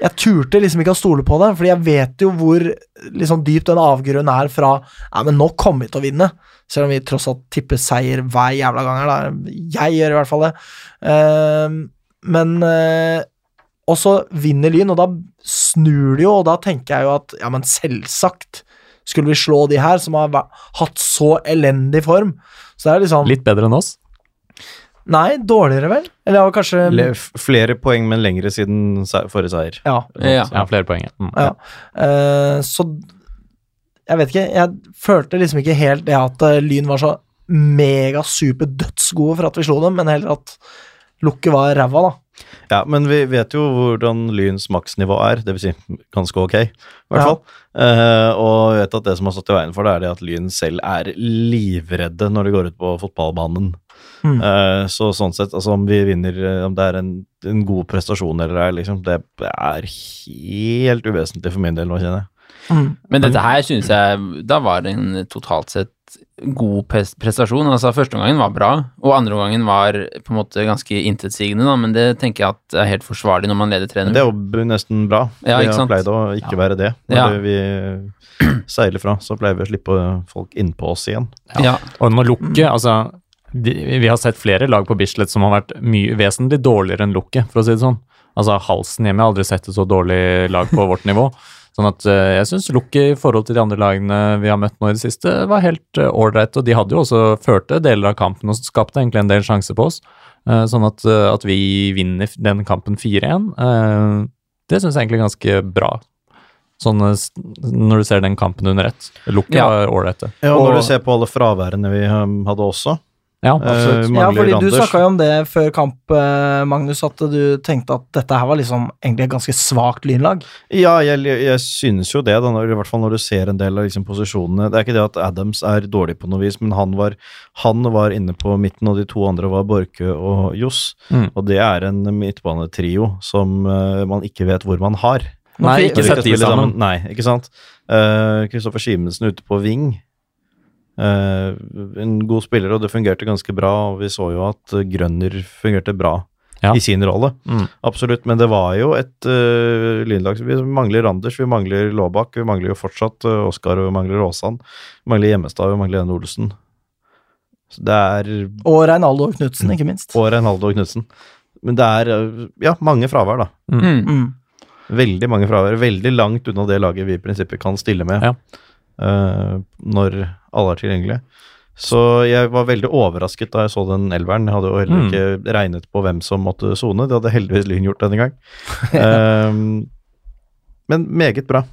jeg turte liksom ikke å stole på det, fordi jeg vet jo hvor liksom dypt den avgrunnen er fra Nei, men nå kommer vi til å vinne, selv om vi tross alt tipper seier hver jævla gang her, da. Jeg gjør i hvert fall det. Ehm, men eh, Og så vinner Lyn, og da snur det jo, og da tenker jeg jo at ja, men selvsagt skulle vi slå de her, som har væ- hatt så elendig form. Så det er liksom Litt bedre enn oss. Nei, dårligere, vel? Eller ja, kanskje Le, f- flere poeng, men lengre siden se forrige seier. Ja. ja. Ja, flere poeng. ja. Mm. Ja. Eh, så Jeg vet ikke. Jeg følte liksom ikke helt det at eh, Lyn var så megasuper dødsgode for at vi slo dem, men heller at lukket var ræva, da. Ja, men vi vet jo hvordan Lyns maksnivå er, dvs. Si, ganske ok, i hvert Ja. fall. Eh, og vi vet at det som har stått i veien for det, er det at Lyn selv er livredde når de går ut på fotballbanen. Mm. Eh, så sånn sett, altså om vi vinner, eh, om det er en, en god prestasjon eller ei, liksom, det er helt uvesentlig for min del nå, kjenner jeg. Mm. Men dette Mm. her synes jeg Da var det en totalt sett god pres- prestasjon. Altså, første omgangen var bra, og andre omgangen var på en måte ganske intetsigende, da, men det tenker jeg at er helt forsvarlig når man leder 3-0. Men det er jo b- nesten bra. Ja, vi ikke har sant? pleid å ikke være det. Når Ja. vi seiler fra, så pleier vi å slippe folk innpå oss igjen. Ja. Og den må lukke, altså de, Vi har sett flere lag på Bislett som har vært mye vesentlig dårligere enn lukke, for å si det sånn. Altså Halsen hjemme jeg har aldri sett et så dårlig lag på vårt nivå. Sånn at eh, jeg syns Lukke i forhold til de andre lagene vi har møtt nå i det siste, var helt eh, ålreit. og de hadde jo også førte deler av kampen og skapte egentlig en del sjanser på oss. Eh, sånn at, eh, at vi vinner den kampen 4-1, eh, det syns jeg egentlig er ganske bra. Sånn eh, s- når du ser den kampen under ett. Lukke Ja. var ålreit, det. Ja, og når Og- du ser på alle fraværene vi um, hadde også Ja, eh, Ja, mangler fordi du Anders. snakka jo om det før kamp, eh, Magnus, at du tenkte at dette her var liksom egentlig et ganske svakt lynlag. Ja, jeg, jeg synes jo det, da, når, i hvert fall når du ser en del av liksom, posisjonene. Det er ikke det at Adams er dårlig på noe vis, men han var, han var inne på midten, og de to andre var Borchø og Johs. Mm. Og det er en midtbanetrio som eh, man ikke vet hvor man har. Nei, Nå Når ikke sett de de skal spille sammen. Nei, ikke sant. Eh, Kristoffer Simensen ute på wing. Eh, en god spiller, og det fungerte ganske bra. og Vi så jo at eh, Grønner fungerte bra Ja. i sin rolle. Mm. Absolutt, men det var jo et uh, lynlag Vi mangler Anders, vi mangler Laabak, vi mangler jo fortsatt eh, Oskar, og vi mangler Aasan. Vi mangler Hjemmestad, vi mangler Ene Olsen. Så det er Og Reinaldo Knutsen, ikke minst. Og Reinaldo Knutsen. Men det er eh, ja, mange fravær, da. Mm. Mm. Veldig mange fravær. Veldig langt unna det laget vi i prinsippet kan stille med Ja. eh, når alle er tilgjengelige. Så jeg var veldig overrasket da jeg så den elveren. Jeg hadde jo heller Mm. ikke regnet på hvem som måtte sone. Det hadde heldigvis Lyn gjort denne gang. Ehm, men meget bra.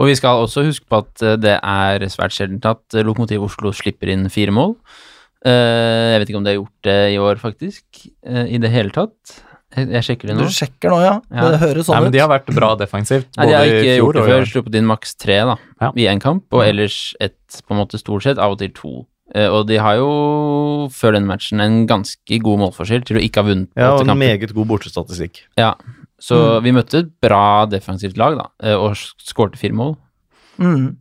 Og vi skal også huske på at eh, det er svært sjeldent at eh, Lokomotiv Oslo slipper inn fire mål. Eh, Jeg vet ikke om de har gjort det i år, faktisk, eh, i det hele tatt. Jeg jeg sjekker det Du nå. sjekker nå, ja. Ja. Det høres Nei, sånn men de har vært bra defensivt. Nei, de har i ikke fjor gjort det og i år. før. Sluppet inn maks tre da, Ja. i én kamp, og Mm. ellers ett, på en måte stort sett, av og til to. Eh, Og de har jo før den matchen en ganske god målforskjell til å ikke ha vunnet på Ja, og åtte en kamper. meget god bortestatistikk. Ja. Så Mm. vi møtte et bra defensivt lag, da, eh, og skårte fire mål. ut. Mm.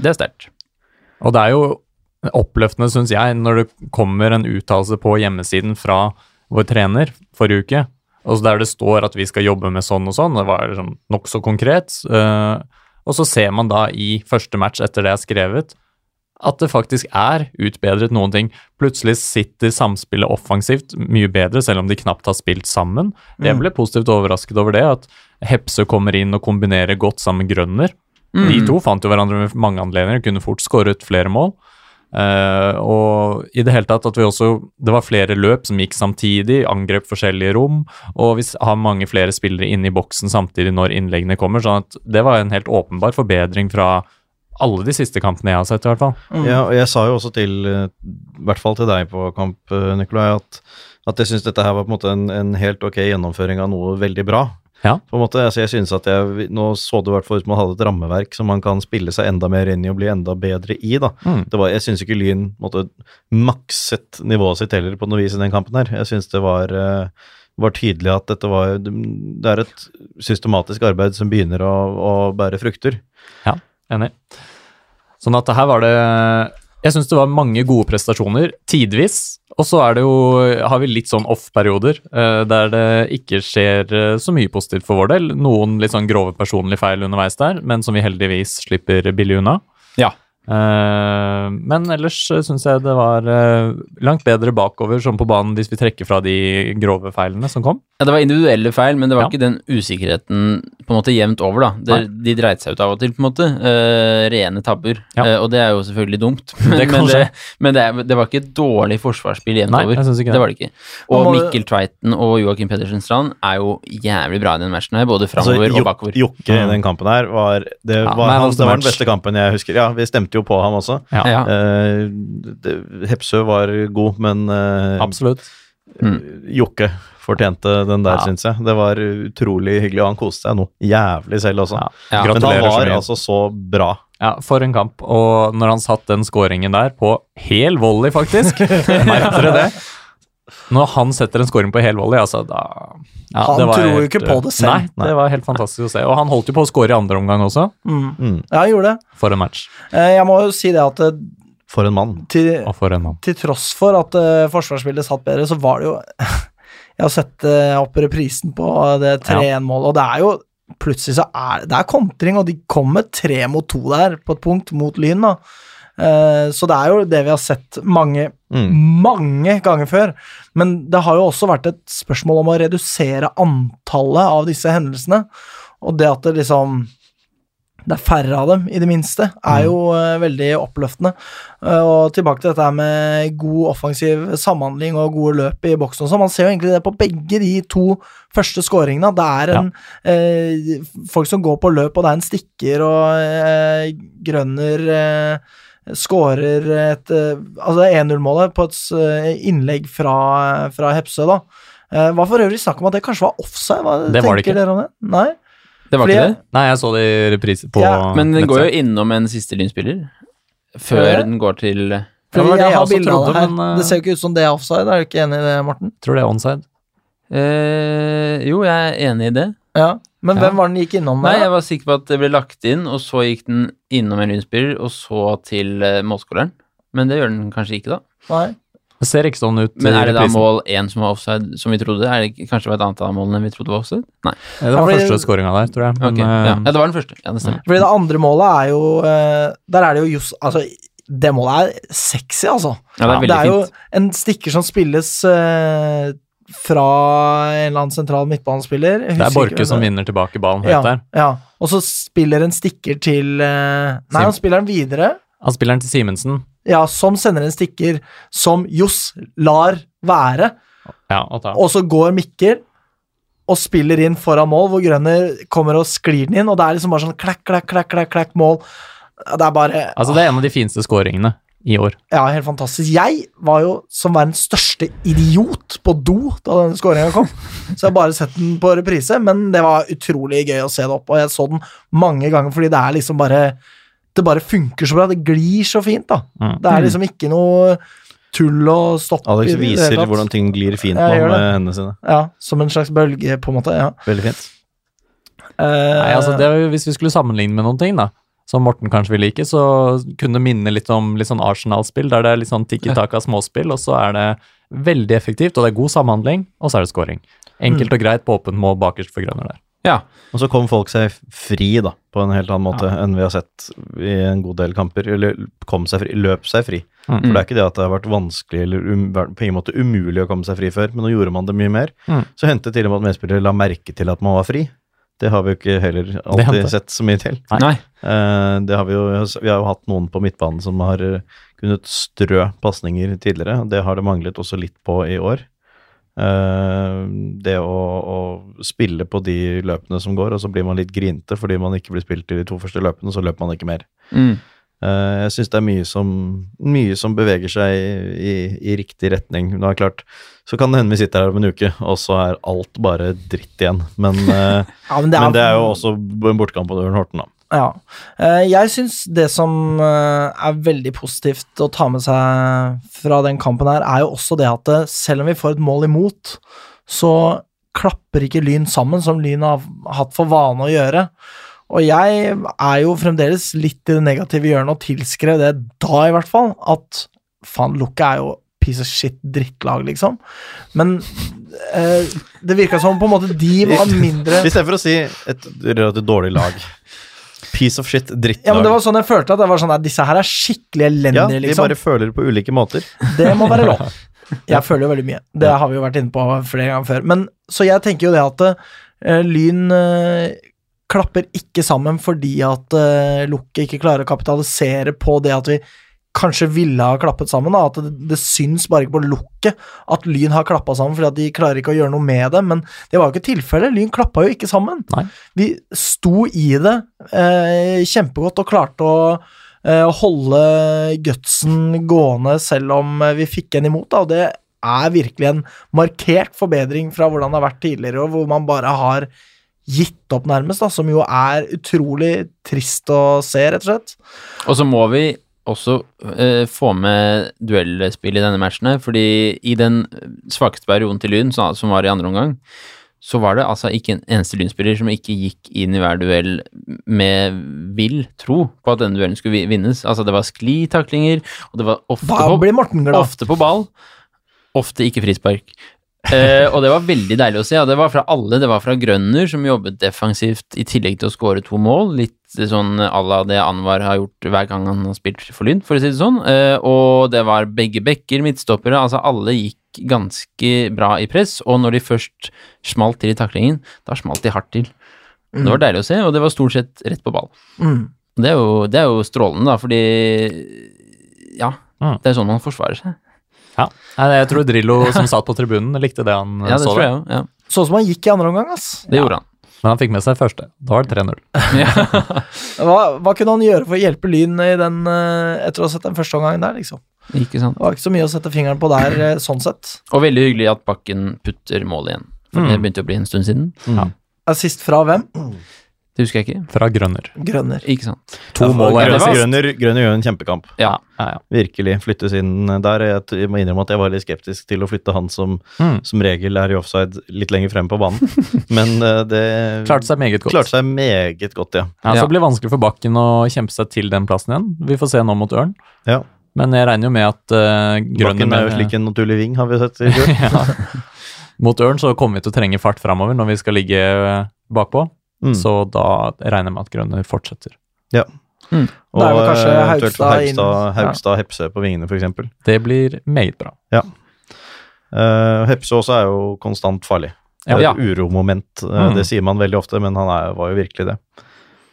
Det er sterkt. Og det er jo oppløftende, syns jeg, når det kommer en uttalelse på hjemmesiden fra vår trener forrige uke, og så der det står at vi skal jobbe med sånn og sånn, det var liksom nokså konkret. eh, og så ser man da i første match etter det er skrevet, at det faktisk er utbedret noen ting. Plutselig sitter samspillet offensivt mye bedre, selv om de knapt har spilt sammen. Jeg ble positivt overrasket over det, at Hepse kommer inn og kombinerer godt sammen med Grønner. Mm. De to fant jo hverandre med mange anledninger, kunne fort skåret flere mål. Eh, og i det hele tatt at vi også Det var flere løp som gikk samtidig, angrep forskjellige rom, og vi s- har mange flere spillere inne i boksen samtidig når innleggene kommer, sånn at det var en helt åpenbar forbedring fra alle de siste kampene jeg har sett, i hvert fall. Ja, og jeg sa jo også til, eh, i hvert fall til deg på kamp, eh, Nikolai, at, at jeg syns dette her var på en måte en, en helt ok gjennomføring av noe veldig bra. Ja. På en måte, altså jeg synes at jeg, Nå så det i hvert fall ut som man hadde et rammeverk som man kan spille seg enda mer inn i og bli enda bedre i. da. Mm. Det var, jeg syns ikke Lyn måtte makset nivået sitt heller på noe vis i den kampen her. Jeg syns det var, eh, var tydelig at dette var Det er et systematisk arbeid som begynner å, å bære frukter. Ja, enig. Sånn at her var det Jeg syns det var mange gode prestasjoner, tidvis. Og så er det jo, har vi litt sånn off-perioder eh, der det ikke skjer eh, så mye positivt for vår del. Noen litt sånn grove personlige feil underveis der, men som vi heldigvis slipper billig unna. Ja. Eh, men ellers syns jeg det var eh, langt bedre bakover som på banen hvis vi trekker fra de grove feilene som kom. Ja, det var individuelle feil, men det var Ja. ikke den usikkerheten på en måte jevnt over, da. Det, de dreit seg ut av og til, på en måte. Eh, rene tabber. Ja. Eh, og det er jo selvfølgelig dumt, men, Det kan men, det, skje. men det, er, det var ikke et dårlig forsvarsspill jevnt Nei, over. jeg synes ikke det. var det ikke. Og Man må- Mikkel Tveiten og Joakim Pedersen Strand er jo jævlig bra i den matchen her, både framover Altså, og bakover. Jo- Jokke Mm. i den kampen her var Det Ja, var, man han, of the det var den match. beste kampen jeg husker. Ja, vi stemte jo på ham også. Ja, Ja. Eh, det- Hepsø var god, men eh, Absolutt. Jokke fortjente den der, Ja. syns jeg. Det var utrolig hyggelig, og han koste seg noe jævlig selv også. Ja. Ja, Men han Gratulerer så var mye. altså så bra. Ja, for en kamp. Og når han satt den scoringen der, på hel volley, faktisk Merket dere det? Når han setter en scoring på hel volley, altså da ja, Han det var tror jo ikke på det selv. Nei, det var helt fantastisk å se. Og han holdt jo på å score i andre omgang også, Ja, jeg gjorde det. for en match. Eh, Jeg må jo si det at eh, For en mann. til, Og for en mann. til tross for at eh, forsvarsspillet satt bedre, så var det jo Jeg har sett eh, opp reprisen på eh, det 3-1-målet, og det er jo Plutselig så er det er kontring, og de kom med tre mot to der på et punkt, mot Lyn, da. Eh, Så det er jo det vi har sett mange, Mm. mange ganger før. Men det har jo også vært et spørsmål om å redusere antallet av disse hendelsene. Og det at det liksom det er færre av dem, i det minste, Mm. er jo eh, veldig oppløftende. Eh, og tilbake til dette her med god offensiv samhandling og gode løp i boksen og sånn. Man ser jo egentlig det på begge de to første scoringene. at Det er en, eh, folk som går på løp, og det er en stikker, og eh, Grønner eh, skårer et eh, Altså det er 1-0-målet på et s- eh, innlegg fra, fra Hepsø, da. Eh, var for øvrig snakk om at det kanskje var offside? Hva Det var det tenker ikke. dere om det? Nei? det var fordi- ikke det. Nei, jeg så det i reprise på Ja, Men den går jo nettsiden. innom en siste lynspiller før Eh. Gjør det? den går til Ja, det var Fordi det jeg jeg har også bilde av det trodde, her. men, eh, Det ser jo ikke ut som det er offside, er du ikke enig i det, Morten? Tror det er onside. eh, Jo, jeg er enig i det. Ja. Men Ja. hvem var den gikk innom Nei, der? jeg var sikker på at det ble lagt inn, og så gikk den innom en lynspiller, og så til eh, målskåreren. Men det gjør den kanskje ikke, da. da? Nei. Det ser ikke sånn ut. Men i er det da reprisen. mål én som var offside, som vi trodde? Er det, ikke- kanskje det var et annet av målene vi trodde var offside? Nei. Det Ja, var fordi- første scoringa der, tror jeg. Men, Ok, ja. eh, ja, det var den første. Ja, det stemmer. Fordi det andre målet er jo eh, Der er det jo just Altså, det målet er sexy, altså. Ja, det er det veldig er jo fint. en stikker som spilles eh, fra en eller annen sentral midtbanespiller. Jeg det husker er ikke hvem Borke som vinner tilbake ballen høyt Ja. der. Ja, og så spiller en stikker til eh, Nei, Sim. han spiller den videre. Han spiller den til Simensen, Ja, som sender en stikker som Johs lar være. ja, og tar. Og så går Mikkel og spiller inn foran mål, hvor Grønner kommer og sklir den inn, og det er liksom bare sånn klakk, klakk, klakk, klakk, klakk mål. Det er bare Altså, det er en av de fineste scoringene i år. Ja, helt fantastisk. Jeg var jo som verdens største idiot på do da denne skåringa kom. Så jeg har bare sett den på reprise, men det var utrolig gøy å se det opp. Og jeg så den mange ganger, fordi det er liksom bare Det bare funker så bra. Det glir så fint, da. Mm. Det er liksom ikke noe tull og stopp. i Alex det hele viser tatt. hvordan ting glir fint Ja, nå jeg gjør med det. hendene sine. Ja, som en slags bølge, på en måte. Ja. Veldig fint. Eh, altså, Eh. Nei, altså det, er jo- hvis vi skulle sammenligne med noen ting, da, som Morten kanskje vil like, så kunne det minne litt om litt sånn Arsenal-spill, der det er litt sånn tikki-taka småspill, og så er det veldig effektivt, og det er god samhandling, og så er det scoring. Enkelt og greit på åpen mål bakerst for grønner der. Ja. Og så kom folk seg fri, da, på en helt annen måte enn vi har sett i en god del kamper. Eller kom seg fri, løp seg fri. Mm. For det er ikke det at det har vært vanskelig eller um, vært på ingen måte umulig å komme seg fri før, men nå gjorde man det mye mer. Mm. Så hendte til og med at medspillere la merke til at man var fri. Det har vi jo ikke heller hendte. alltid sett så mye til. Nei. Nei. Eh, Det har vi, jo, vi har jo hatt noen på midtbanen som har eh, kunnet strø pasninger tidligere. og Det har det manglet også litt på i år. Eh, Det å, å spille på de løpene som går, og så blir man litt grinte fordi man ikke blir spilt i de to første løpene, så løper man ikke mer. Mm. Eh, Jeg syns det er mye som, mye som beveger seg i, i riktig retning. Nå er det klart, så kan det hende vi sitter her om en uke, og så er alt bare dritt igjen. Men, eh, Ja, men, men det er jo også en bortkamp på Ørn Horten, da. Ja. Eh, Jeg syns det som eh, er veldig positivt å ta med seg fra den kampen her, er jo også det at eh, selv om vi får et mål imot, så klapper ikke Lyn sammen, som Lyn har hatt for vane å gjøre. Og jeg er jo fremdeles litt i det negative hjørnet og tilskrev det da, i hvert fall, at faen, Lukka er jo piece of shit drittlag, liksom. Men eh, det virka som på en måte de var mindre I stedet for å si et relativt dårlig lag. Piece of shit, drittlag. Ja, men det var sånn jeg følte at det var sånn at disse her er skikkelig Ja, elendige, de liksom. bare føler det på ulike måter. Det må være lov. Jeg føler jo veldig mye. Det har vi jo vært inne på flere ganger før. Men så jeg tenker jo det at eh, Lyn eh, klapper ikke sammen fordi at uh, Lukke ikke klarer å kapitalisere på det at vi kanskje ville ha klappet sammen. Da. At det, det syns bare ikke på Lukke at Lyn har klappa sammen fordi at de klarer ikke å gjøre noe med det. Men det var jo ikke tilfellet. Lyn klappa jo ikke sammen. Nei. Vi sto i det eh, kjempegodt og klarte å eh, holde gutsen gående selv om eh, vi fikk en imot, da, og det er virkelig en markert forbedring fra hvordan det har vært tidligere, og hvor man bare har gitt opp nærmest, da, som jo er utrolig trist å se, rett og slett. Og så må vi også eh, få med duellspill i denne matchen, her, fordi i den svakeste perioden til Lyn, som som var i andre omgang, så var det altså ikke en eneste Lyn-spiller som ikke gikk inn i hver duell med vill tro på at denne duellen skulle vi- vinnes. Altså, det var sklitaklinger, og det var ofte Da på, blir Morten glad. ofte på ball, ofte ikke frispark. Eh, og det var veldig deilig å se. og det var fra alle. Det var fra Grønner, som jobbet defensivt i tillegg til å skåre to mål. Litt sånn à la det Anwar har gjort hver gang han har spilt for Lyn, for å si det sånn. Eh, og det var begge bekker, midtstoppere. Altså alle gikk ganske bra i press. Og når de først smalt til i taklingen, da smalt de hardt til. Det var deilig å se, og det var stort sett rett på ball. Mm. Og Det er jo, det er jo strålende, da, fordi Ja. Mm. Det er sånn man forsvarer seg. Ja. Nei, Jeg tror Drillo som satt på tribunen, likte det han eh, Ja, det så. tror jeg Det. òg. Ja, Sånn som han gikk i andre omgang, ass. det gjorde han. Men han fikk med seg første. Da var det 3-0. Hva, hva kunne han gjøre for å hjelpe Lyn i den, eh, etter å ha sett den første omgangen der, liksom? Ikke sant. Det var ikke så mye å sette fingeren på der, eh, sånn sett. Og veldig hyggelig at Bakken putter mål igjen. For det Mm. begynte å bli en stund siden. Assist fra hvem? Det husker jeg ikke. Fra Grønner. Grønner. Ikke sant. To Ja, mål og og en det var- Grønner, Grønner, Grønner gjør en kjempekamp. Ja. Ja, ja. Virkelig. Flyttes inn der. Jeg t- må innrømme at jeg var litt skeptisk til å flytte han som Mm. som regel er i offside litt lenger frem på banen, men eh, det Klarte seg meget godt. klarte seg meget godt, ja. Ja, Ja. Så blir det vanskelig for Bakken å kjempe seg til den plassen igjen. Vi får se nå mot Ørn. Ja. Men jeg regner jo med at eh, Grønner Bakken er jo slik en naturlig ving, har vi jo sett i fjor. ja. Mot Ørn så kommer vi til å trenge fart framover når vi skal ligge eh, bakpå. Mm. Så da regner jeg med at Grønner fortsetter. Da er vel eh, kanskje eventuelt Haugstad inn. Ja. Haugstad, Haugstad Hepse på vingene, for eksempel. Det blir meget bra. Eh, Hepse også er jo konstant farlig. Det er Ja. et uromoment. Eh, Mm. Det sier man veldig ofte, men han er, var jo virkelig det.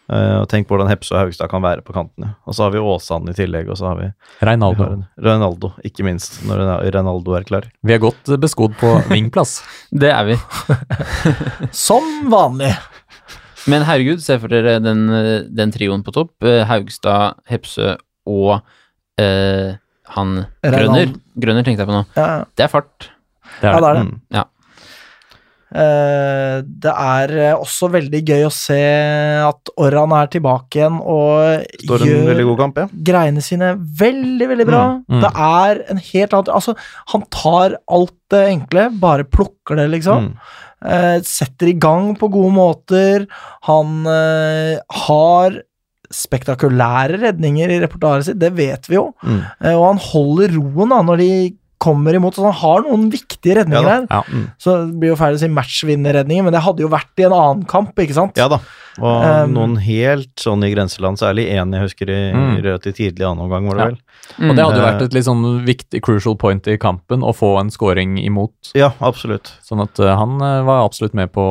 Eh, og Tenk hvordan Hepse og Haugstad kan være på kantene. Og så har vi Åsane i tillegg, og så har vi, vi har Reinaldo. en- Ronaldo, ikke minst, når Ren- Ronaldo er klar. Vi er godt eh, beskodd på vingplass. Det er vi. Som vanlig. Men herregud, se for dere den, eh, den trioen på topp. Eh, Haugstad, Hepsø og eh, han Grønner. Reinald. Grønner tenkte jeg på nå. Ja, ja. Det er fart. Det ja er det det. er det. Mm. Eh, Det er eh, også veldig gøy å se at Orran er tilbake igjen og Står en veldig gjør god kamp, ja. greiene sine veldig, veldig bra. Mm, mm. Det er en helt annen Altså, han tar alt det enkle, bare plukker det, liksom. Mm. Eh, setter i gang på gode måter. Han eh, har spektakulære redninger i repertoaret sitt, det vet vi jo. Mm. Eh, Og han holder roen da når de kommer imot, så han har noen viktige redninger Ja da. der. Ja. Så det blir jo feil å si matchvinnerredninger, men det hadde jo vært i en annen kamp, ikke sant? Ja da. Og Um, noen helt sånn i grenseland, særlig én jeg husker i, Mm. i Rødt i tidlig annen omgang, var det Ja. vel? Mm. Og det hadde jo vært et litt sånn viktig crucial point i kampen å få en scoring imot. Ja, absolutt. Sånn at eh, han eh, var absolutt med på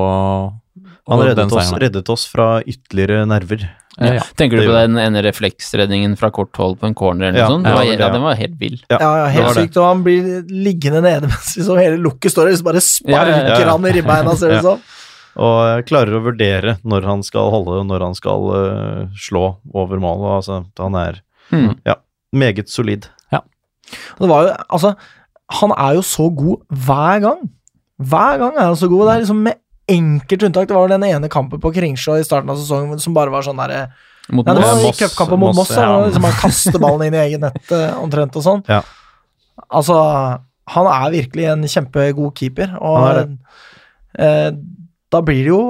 Han og den reddet oss, seieren. reddet oss fra ytterligere nerver. Eh, ja. Tenker Det du på gjør den ene refleksredningen fra kort hold på en corner eller Ja, noe sånt? Det ja, var, det, ja, ja. den var helt vill. Ja, ja, det helt var det. sykt. Og han blir liggende nede mens liksom hele lukket står der, så bare sparker Ja, ja, ja. han i ribbeina, ser det Ja. ut som. Og jeg klarer å vurdere når han skal holde, og når han skal eh, slå over målet. Altså, han er Mm. meget solid. Og Det var jo, altså, han er jo så god hver gang. Hver gang er han så god. Det er liksom med enkelt unntak. Det var vel den ene kampen på Kringsjå i starten av sesongen som bare var sånn derre Mot Nei, det var Moss. i Moss- cupkampen mot Moss, Moss, da, ja. hvor liksom han kaster ballen inn i eget nett eh, omtrent og sånn. Ja. Altså, han er virkelig en kjempegod keeper, og Han eh, da blir det jo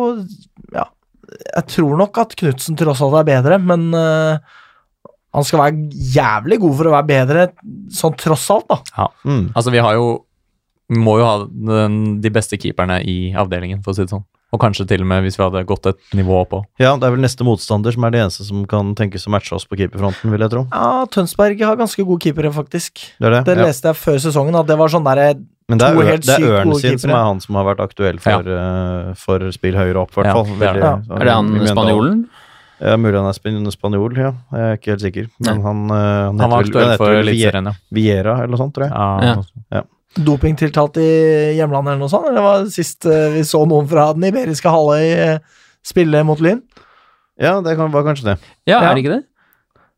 Ja, jeg tror nok at Knutsen tross alt er bedre, men eh, han skal være jævlig god for å være bedre, sånn tross alt, da. Mm. Altså, vi har jo Må jo ha den, de beste keeperne i avdelingen, for å si det sånn. Og kanskje til og med hvis vi hadde gått et nivå oppå. Ja, det er vel neste motstander som er det eneste som kan tenkes å matche oss på keeperfronten, vil jeg tro. Ja, Tønsberg har ganske gode keepere, faktisk. Det er det. Det ja. leste jeg før sesongen, at det var sånn derre Men det er, to Ø- helt det er sykt Ørn gode sin som keepere. er han som har vært aktuell for, eh, for spill høyere opp, i hvert Ja, fall. det er det. Veldig- Er det han Mye spanjolen? Ja, mulig han er span- spanjol, ja. Jeg er ikke helt sikker. Men han, eh, han, Han heter vel- var aktuell heter for vel Vie- Eliteserien, ja. Viera eller noe sånt, tror jeg. Ja. Ja. dopingtiltalt i hjemlandet eller noe sånt? Eller det var sist eh, vi så noen fra den iberiske halvøy eh, spille mot Lyn? Ja, det kan, var kanskje det. Ja, Ja. er det ikke det?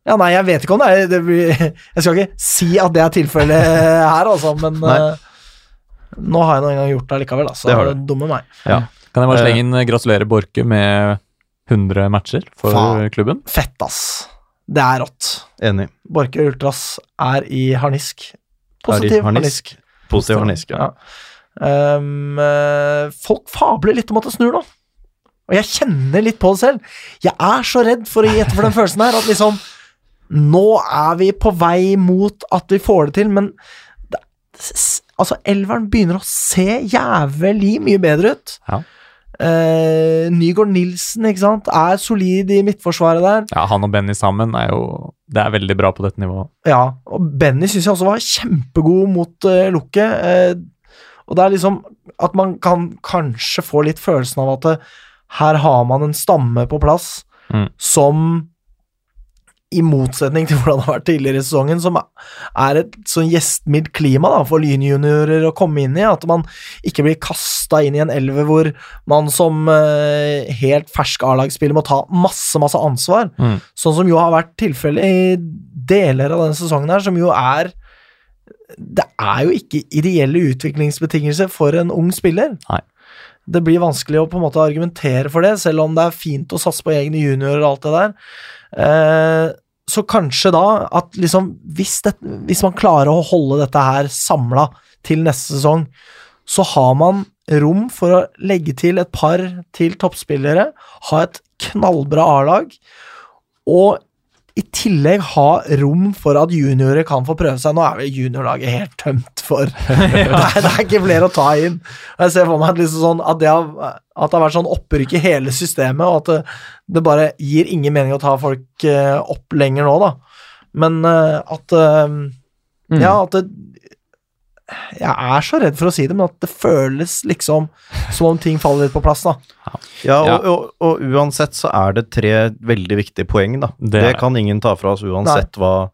Ja, nei, jeg vet ikke om det er det blir, Jeg skal ikke si at det er tilfellet her, altså, men Nei. eh, Nå har jeg nå engang gjort det likevel, altså. Det har du. Dumme meg. Kan jeg bare slenge inn eh, gratulerer Borke med 100 matcher for Faen. klubben? Fett, ass. Det er rått. Enig. Borke Ultras er i harnisk. Er i Positiv harnisk. harnisk. Positiv harnisk, ja. Ja. Um, eh, folk fabler litt om at det snur nå. Og jeg kjenner litt på det selv. Jeg er så redd for å gi etter for den følelsen her, at liksom Nå er vi på vei mot at vi får det til, men det, s- Altså, elveren begynner å se jævlig mye bedre ut. Ja. Eh, Nygaard Nilsen ikke sant? er solid i midtforsvaret der. Ja, han og Benny sammen er jo Det er veldig bra på dette nivået. Ja, og Benny syns jeg også var kjempegod mot uh, lukket. eh, og det er liksom at man kan kanskje få litt følelsen av at eh, her har man en stamme på plass Mm. som i motsetning til hvordan det har vært tidligere i sesongen, som er et sånn gjestmidd klima da, for lynjuniorer å komme inn i. At man ikke blir kasta inn i en elver hvor man som eh, helt fersk A-lagsspiller må ta masse, masse ansvar. Mm. Sånn som jo har vært tilfellet i deler av denne sesongen her, som jo er Det er jo ikke ideelle utviklingsbetingelser for en ung spiller. Nei. Det blir vanskelig å på en måte argumentere for det, selv om det er fint å satse på egne juniorer og alt det der. Eh, så kanskje da at liksom hvis, det, hvis man klarer å holde dette her samla til neste sesong, så har man rom for å legge til et par til toppspillere, ha et knallbra A-lag, og i tillegg ha rom for at juniorer kan få prøve seg. Nå er vel juniorlaget helt tømt for det, er, det er ikke flere å ta inn. Og Jeg ser for meg at, liksom sånn, at, det har, at det har vært sånn opprykk i hele systemet, og at det, det bare gir ingen mening å ta folk eh, opp lenger nå, da. Men eh, at eh, Mm. ja, at det, jeg er så redd for å si det, men at det føles liksom som om ting faller litt på plass. da. Ja, og, Ja. og, og uansett så er det tre veldig viktige poeng, da. Det Det, er det. kan ingen ta fra oss uansett hva,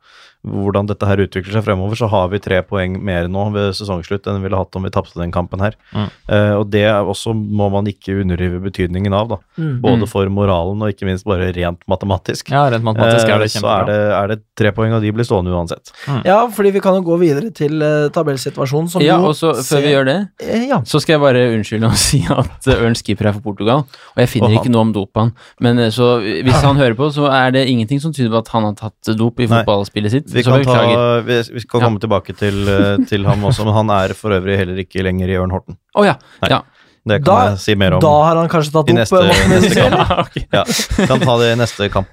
hvordan dette her utvikler seg fremover. Så har vi tre poeng mer nå ved sesongslutt enn vi ville hatt om vi tapte den kampen her. Mm. Eh, og det er også må man ikke underrive betydningen av, da. Mm. Både for moralen og ikke minst bare rent matematisk. Mm. Ja, rent matematisk er det Eh, så er kjempebra. det, er det tre poeng, og de blir stående uansett. Ja, fordi vi kan jo gå videre til eh, tabellsituasjonen, som Ja, jo og så før vi gjør det, Eh, Ja. så skal jeg bare unnskylde og si at eh, Ørn Skipper er fra Portugal, og jeg Og finner han- ikke noe om dop han. Men eh, så eh, hvis han hører på, så er det ingenting som tyder på at han har tatt eh, dop i Nei. fotballspillet sitt. Vi Så kan, beklager. ta, vi, vi skal Ja. komme tilbake til, eh, til ham også, men han er for øvrig heller ikke lenger i Ørn Horten. Å ja. Nei. ja. Det kan Da- jeg si mer om Da har han kanskje tatt i opp neste, eh, Morten neste Ødegaard. kamp. Ja, kan ta det i neste kamp.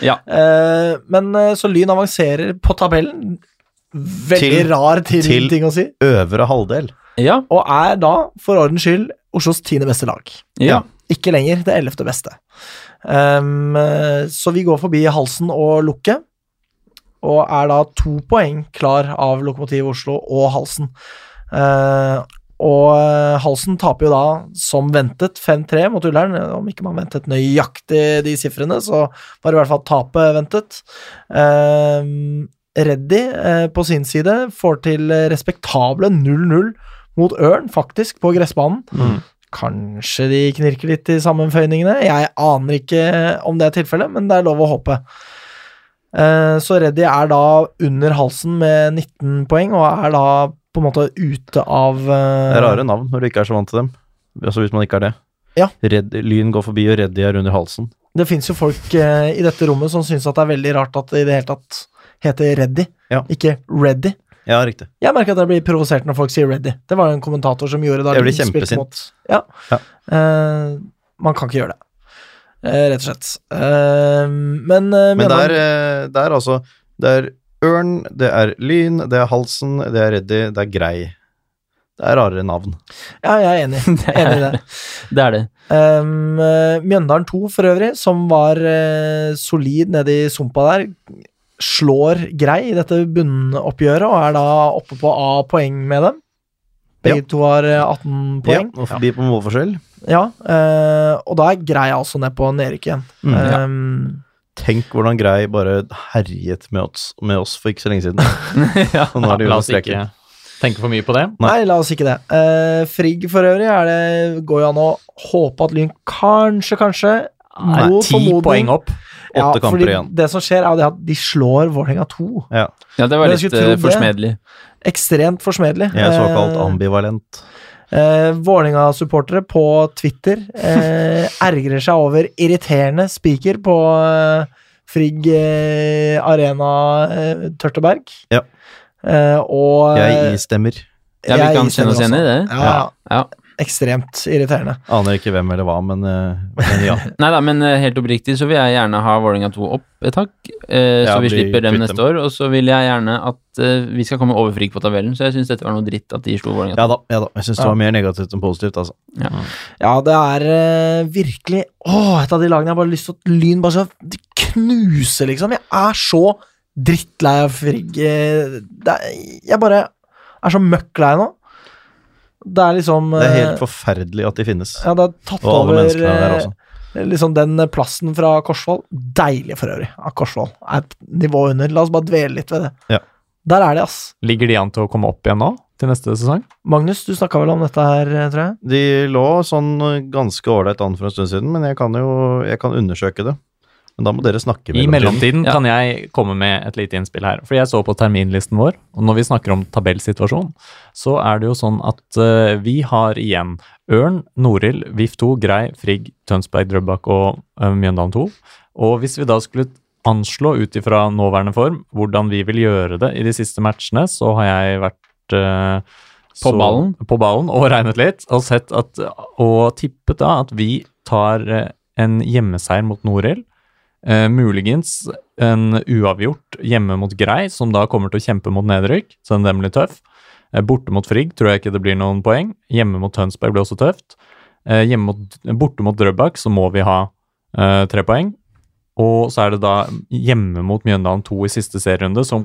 Eh, Men eh, så Lyn avanserer på tabellen. Veldig Til- rar ting, til- ting å si. Øvre halvdel. Ja. Og er da, for ordens skyld, Oslos tiende beste lag. ja. Ikke lenger det ellevte beste. Ehm, eh, så vi går forbi Halsen og Lukke, og er da to poeng klar av Lokomotiv Oslo og Halsen. Eh, og eh, Halsen taper jo da, som ventet, 5-3 mot Ullern. Om ikke man ventet nøyaktig de sifrene, så var det i hvert fall tapet ventet. Ehm, Reddy eh, på sin side får til eh, respektable 0-0 mot Ørn, faktisk, på gressbanen. Mm. Kanskje de knirker litt i sammenføyningene. Jeg aner ikke eh, om det er tilfellet, men det er lov å håpe. Eh, Så Reddy er da under halsen med 19 poeng, og er da på en måte ute av eh, Det er rare navn når du ikke er så vant til dem. Altså hvis man ikke er det. Ja. Redd, lyn går forbi, og Reddy er under halsen. Det fins jo folk eh, i dette rommet som syns at det er veldig rart at det i det hele tatt heter Reddy, Ja. ikke Reddy. Ja, riktig. Jeg merker at jeg blir provosert når folk sier Reddy. Det var jo en kommentator som gjorde det. da Jeg blir Lyn spilte kjempesint. mot- Ja. Ja. Eh, man kan ikke gjøre det. Eh, rett og slett. Eh, men eh, Men det Mjøndalen- er, eh, det er altså Det er Ørn, det er Lyn, det er Halsen, det er Reddy, det er Grei. Det er rarere navn. Ja, jeg er enig. Det Enig i det. er, det er det. Um, eh, Mjøndalen 2 for øvrig, som var eh, solid nede i sumpa der, slår grei i dette bunnoppgjøret og er da oppe på A-poeng med dem. Begge to har eh, 18 poeng. Ja, og forbi på målforskjell. Ja, eh, og da er grei altså ned på nedrykk igjen. Mm. Um, Tenk hvordan Grei bare herjet med oss, med oss for ikke så lenge siden. ja. Og nå er de under La oss ikke streken. tenke for mye på det. Nei. Nei, la oss ikke det. Eh, Frigg for øvrig er det, går jo an å håpe at Lyn kanskje, kanskje Nei, god ti formodning. poeng opp. Ja, Åtte kamper fordi igjen. Det som skjer, er jo det at de slår Vålerenga 2. Ja, ja, det var Men jeg litt skulle tro eh, det. forsmedelig. Ekstremt forsmedelig. jeg er såkalt Eh, ambivalent. Eh, Vålerenga-supportere på Twitter eh, ergrer seg over irriterende spiker på eh, Frigg eh, Arena eh, Tørteberg. Ja. Eh, og Jeg istemmer. Ja, vi jeg kan kjenne oss istemmer igjen i det. også. Ja, ja. Ja. Ekstremt irriterende. Aner ikke hvem eller hva, men, eh, men ja. Nei da, men eh, helt oppriktig så vil jeg gjerne ha Vålerenga 2 opp et hakk, eh, Ja, så vi bli slipper dem kvitt neste dem. år. Og så vil jeg gjerne at eh, vi skal komme over Frigg på tabellen, så jeg syns dette var noe dritt at de slo Vålerenga 2. Ja da, ja da. Jeg syns det var mer negativt enn positivt, altså. Ja, det er eh, virkelig Åh, et av de lagene jeg bare har lyst til at Lyn bare så de knuser, liksom. Jeg er så drittlei av Frigg. eh, Det er, jeg bare er så møkk lei nå. Det er liksom Det er eh, helt forferdelig at de finnes. Ja, det har tatt Og alle over menneskene der eh, også. liksom den eh, plassen fra Korsvoll. Deilig for øvrig at Korsvoll er et nivå under. La oss bare dvele litt ved det. Ja. Der er de, ass. Ligger de an til å komme opp igjen nå, til neste sesong? Magnus, du snakka vel om dette her, eh, tror jeg? De lå sånn ganske ålreit an for en stund siden, men jeg kan jo jeg kan undersøke det. Men da må dere snakke I mellom mellomtiden Ja. kan jeg komme med et lite innspill her. Fordi jeg så på terminlisten vår, og når vi snakker om tabellsituasjon, så er det jo sånn at eh, vi har igjen Ørn, Norild, VIF 2, Grei, Frigg, Tønsberg, Drøbak og eh, Mjøndalen 2. Og hvis vi da skulle anslå ut ifra nåværende form hvordan vi vil gjøre det i de siste matchene, så har jeg vært eh, På ballen? På ballen og regnet litt, og, sett at, og tippet da at vi tar eh, en hjemmeseier mot Norild. Eh, muligens en uavgjort hjemme mot Grei, som da kommer til å kjempe mot nedrykk, så den blir tøff. Eh, borte mot Frigg tror jeg ikke det blir noen poeng. Hjemme mot Tønsberg blir også tøft. Eh, hjemme mot, borte mot Drøbak så må vi ha eh, tre poeng. Og så er det da hjemme mot Mjøndalen 2 i siste serierunde, som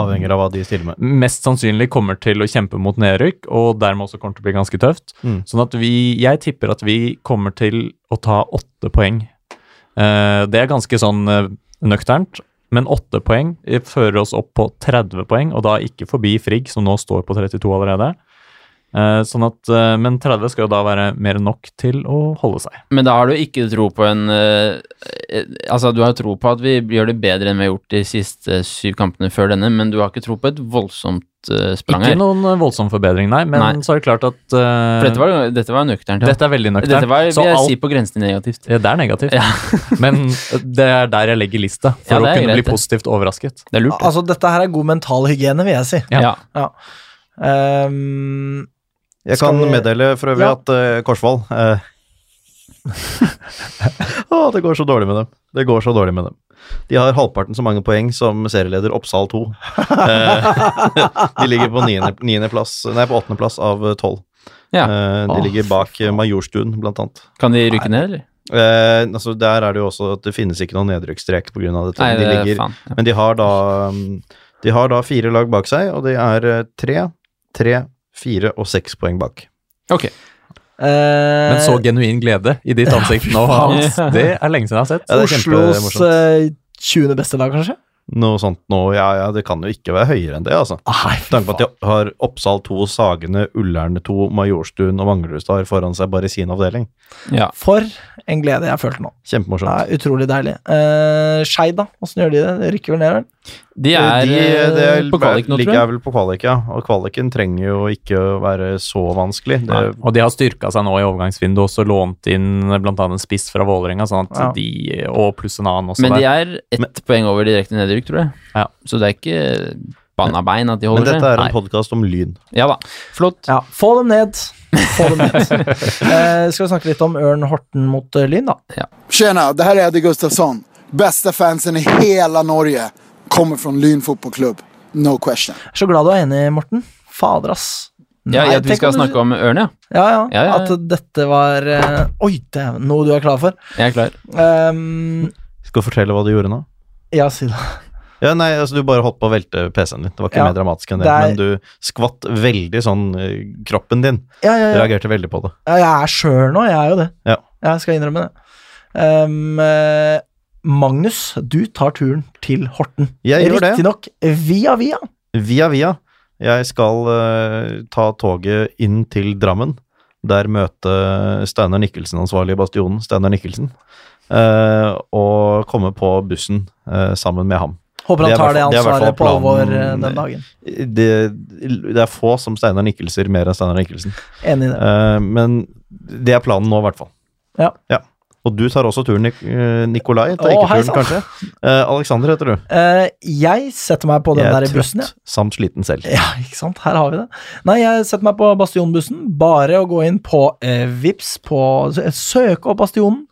Avhenger av hva de stiller med. mest sannsynlig kommer til å kjempe mot nedrykk, og dermed også kommer til å bli ganske tøft. Mm. Sånn at vi, jeg tipper at vi kommer til å ta åtte poeng. Eh, det er ganske sånn eh, nøkternt, men åtte poeng eh, fører oss opp på 30 poeng, og da ikke forbi Frigg, som nå står på 32 allerede. Eh, sånn at, eh, men 30 skal jo da være mer enn nok til å holde seg. Men da har du ikke tro på en eh, eh, Altså, du har tro på at vi gjør det bedre enn vi har gjort de siste syv kampene før denne, men du har ikke tro på et voldsomt eh, sprang Ikke her. noen eh, voldsom forbedring, nei, men Nei. så er det klart at eh, For dette var, dette var nøkternt. Ja. dette er veldig nøkternt. Dette var, så vil jeg alt si, på grensen til negativt. Ja, Det er negativt, men det er der jeg legger lista, for Ja, det å er kunne bli greit, det. positivt overrasket. Det er lurt. Altså, dette her er god mental hygiene, vil jeg si. Ja. Ja. Ehm, Jeg Skal kan vi- meddele for øvrig Ja. at eh, Korsvoll eh, Å, det går så dårlig med dem. Det går så dårlig med dem. De har halvparten så mange poeng som serieleder Oppsal 2. Eh, de ligger på niende- niende plass, nei, på åttendeplass av eh, tolv. Ja. Eh, de Å, ligger bak eh, Majorstuen, blant annet. Kan de rykke ned, eller? Eh, altså, der er det jo også at det finnes ikke noen nedrykksstrek pga. dette. Nei, de det ligger, faen. Ja. Men de har, da, um, de har da fire lag bak seg, og de er eh, tre, tre, fire og seks poeng bak. Ok. Eh, Eh, Men så genuin glede i ditt ansikt nå, Hans. Det er lenge siden jeg har sett. Ja, det er Oslos kjempemorsomt. eh, 20. beste lag, kanskje? Noe sånt nå, ja ja, det kan jo ikke være høyere enn det, altså. Nei, Med Tanke på at de har Oppsal 2, Sagene, Ullern 2, Majorstuen og Manglerudstad har foran seg bare sin avdeling. Ja. For en glede jeg følte nå. Det Kjempemorsomt. er utrolig deilig. Uh, Skeid, da? Åssen gjør de det? De rykker vel ned, vel? De er De- det eh, på kvalik nå, tror ligger jeg. vel på kvalik, ja. Og kvaliken trenger jo ikke å være så vanskelig. Det, Nei, Eh, Og de har styrka seg nå i overgangsvinduet, også lånt inn bl.a. en spiss fra Vålerenga, sånn at Ja. de, og pluss en annen også Men de der. er ett poeng over direkte nedrykk, tror jeg. Ja. Så det er ikke banna bein at de men holder dette seg. er en podkast om lyn. Ja da. Flott. Ja, få dem ned. Få dem ned. Eh, skal vi snakke litt om Ørn Horten mot eh, Lyn, da? Tjena, det här är Eddie Gustafsson. Bästa fansen i hela Norge. Kommer från Lyn fotbollsklubb. No question. Jeg er så glad du er enig, Morten. Fader, ass. Ja, Nei, i at vi tenk skal du- snakke om ørn, ja. ja, ja, Ja, ja, ja. At dette var eh, Oi, dæven, noe du er klar for. Jeg er klar. Um, Skal du fortelle hva du gjorde nå? ja, si det. Ja, nei, altså Du bare holdt på å velte PC-en din. Det var ikke Ja. mer dramatisk enn det. Det er- Men du skvatt veldig sånn eh, Kroppen din Ja, ja, ja. reagerte veldig på det. Ja, jeg er sjøl nå, jeg er jo det. Ja. Jeg skal innrømme det. Um, eh, Magnus, du tar turen til Horten. Jeg gjør det. Riktignok via via. Via via. Jeg skal eh, ta toget inn til Drammen. Der møte Steinar Nikkelsen, ansvarlig i Bastionen, Steinar Nikkelsen. eh, og komme på bussen eh, sammen med ham. Håper han Det er tar det hvertfall- det er hvertfall ansvaret på alvor eh, planen. den dagen. Det, det er få som Steinar Nikkelser mer enn Steinar Nikkelsen. Enig i det. Eh, men det er planen nå, i hvert fall. Ja. Og du tar også turen, Nik eh, Nikolai. Tar Å, ikke hei turen, kanskje. Eh, Alexander heter du. Eh, jeg setter meg på den Jeg er der i bussen, jeg. trøtt samt sliten selv. Ja, ikke sant? Her har vi det. Nei, jeg setter meg på Bastionbussen. Bare å gå inn på eh, Vips, på sø- Søke opp Bastionen.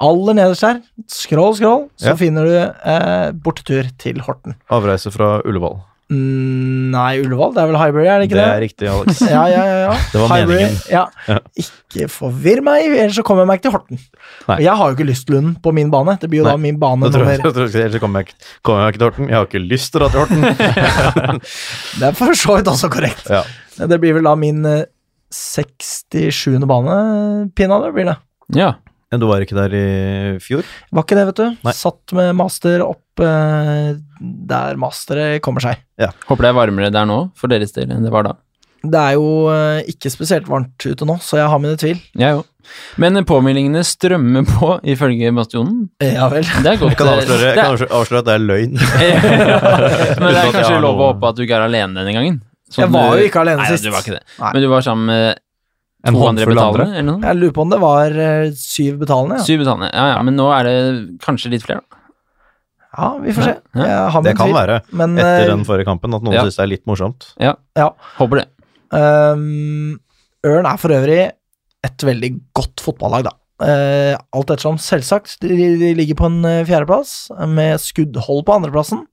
Aller nederst der. Scroll, scroll, så Ja. finner du eh, bortetur til Horten. Avreise fra Ullevål. Mm, nei, Ullevål. Det er vel Highbury, er det Det ikke det? er riktig, Alex. Ja, ja, ja, ja. Det var Highbury, meningen. Ja. Ja. Ikke forvirr meg, ellers så kommer jeg meg ikke til Horten. Nei. Og Jeg har jo ikke lyst til Lund på min bane. Det blir jo Nei. da min bane Da tror jeg, nummer da tror jeg, ellers kommer jeg, ikke- kommer jeg ikke til Horten. Jeg har ikke lyst til å dra til Horten. Det er for så vidt også korrekt. Ja. Det blir vel da min eh, 67. bane, pinadø, blir det. Ja. Men Du var ikke der i fjor? Var ikke det, vet du. Nei. Satt med master opp eh, der masteret kommer seg. Håper det er varmere der nå, for deres del, enn det var da. Det er jo eh, ikke spesielt varmt ute nå, så jeg har mine tvil. Jeg òg. Men påmeldingene strømmer på, ifølge Bastionen. Ja vel. Det er Jeg godt. eh, kan avsløre, jeg det kan avsløre- avsløre at det er løgn. er, men det Uten er at jeg kanskje har lov å noe- håpe at du ikke er alene denne gangen. Sånn Jeg var du- jo ikke alene Nei, sist. du var ikke det. Nei. Men du var sammen med En to andre håndfull betalende, andre. eller noe? Jeg lurer på om det var eh, syv betalende. Ja, Syv betalende. Ja, ja, men nå er det kanskje litt flere, da. ja vi får se. Ja, ja. Jeg har Det mine kan tvil. være Men etter eh, den forrige kampen at noen Ja. synes det er litt morsomt. Håper det. Ehm, Ørn er for øvrig et veldig godt fotballag, da. Eh, alt ettersom, selvsagt. De, de ligger på en eh, fjerdeplass, med skuddhold på andreplassen.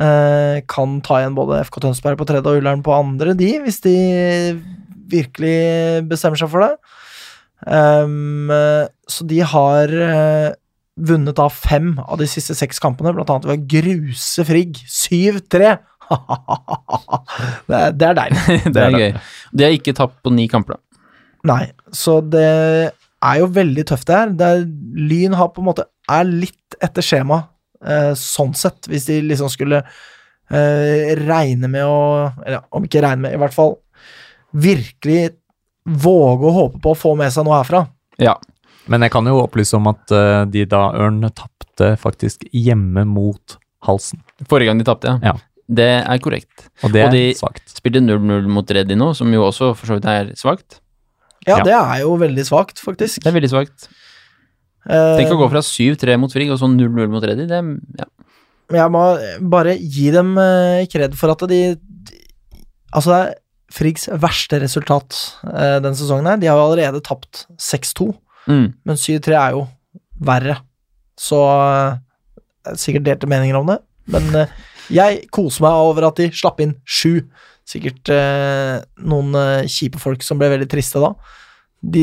Eh, kan ta igjen både FK Tønsberg på tredje og Ullern på andre, de, hvis de virkelig bestemmer seg for det. Ehm, eh, så de har eh, vunnet da fem av de siste seks kampene, blant annet ved å gruse Frigg 7-3. det, er- det er deilig. Det er gøy. De har ikke tapt på ni kamper, da. Nei, så det er jo veldig tøft det her. Det er, lyn har på en måte er litt etter skjema, eh, sånn sett, hvis de liksom skulle eh, regne med å Eller om ikke regne med, i hvert fall virkelig våge å håpe på å få med seg noe herfra. Men jeg kan jo opplyse om at eh, de da Ørn tapte faktisk hjemme mot Halsen. Forrige gang de tapte, ja. Ja. Det er korrekt. Og det Og de- er svakt. Spilte 0-0 mot Reddy nå, som jo også for så vidt er svakt. Ja, Ja. det er jo veldig svakt, faktisk. Det er veldig svakt. Eh, Tenk å gå fra 7-3 mot Frigg og så 0-0 mot Reddy. Det, er- ja. Men jeg må bare gi dem eh, kred for at de de- Altså, det er Frigs verste resultat eh, den sesongen her. De har jo allerede tapt 6-2, Mm. men 7-3 er jo verre. Så eh, det er sikkert delte meninger om det, men eh, jeg koser meg over at de slapp inn sju. Sikkert eh, noen eh, kjipe folk som ble veldig triste da. De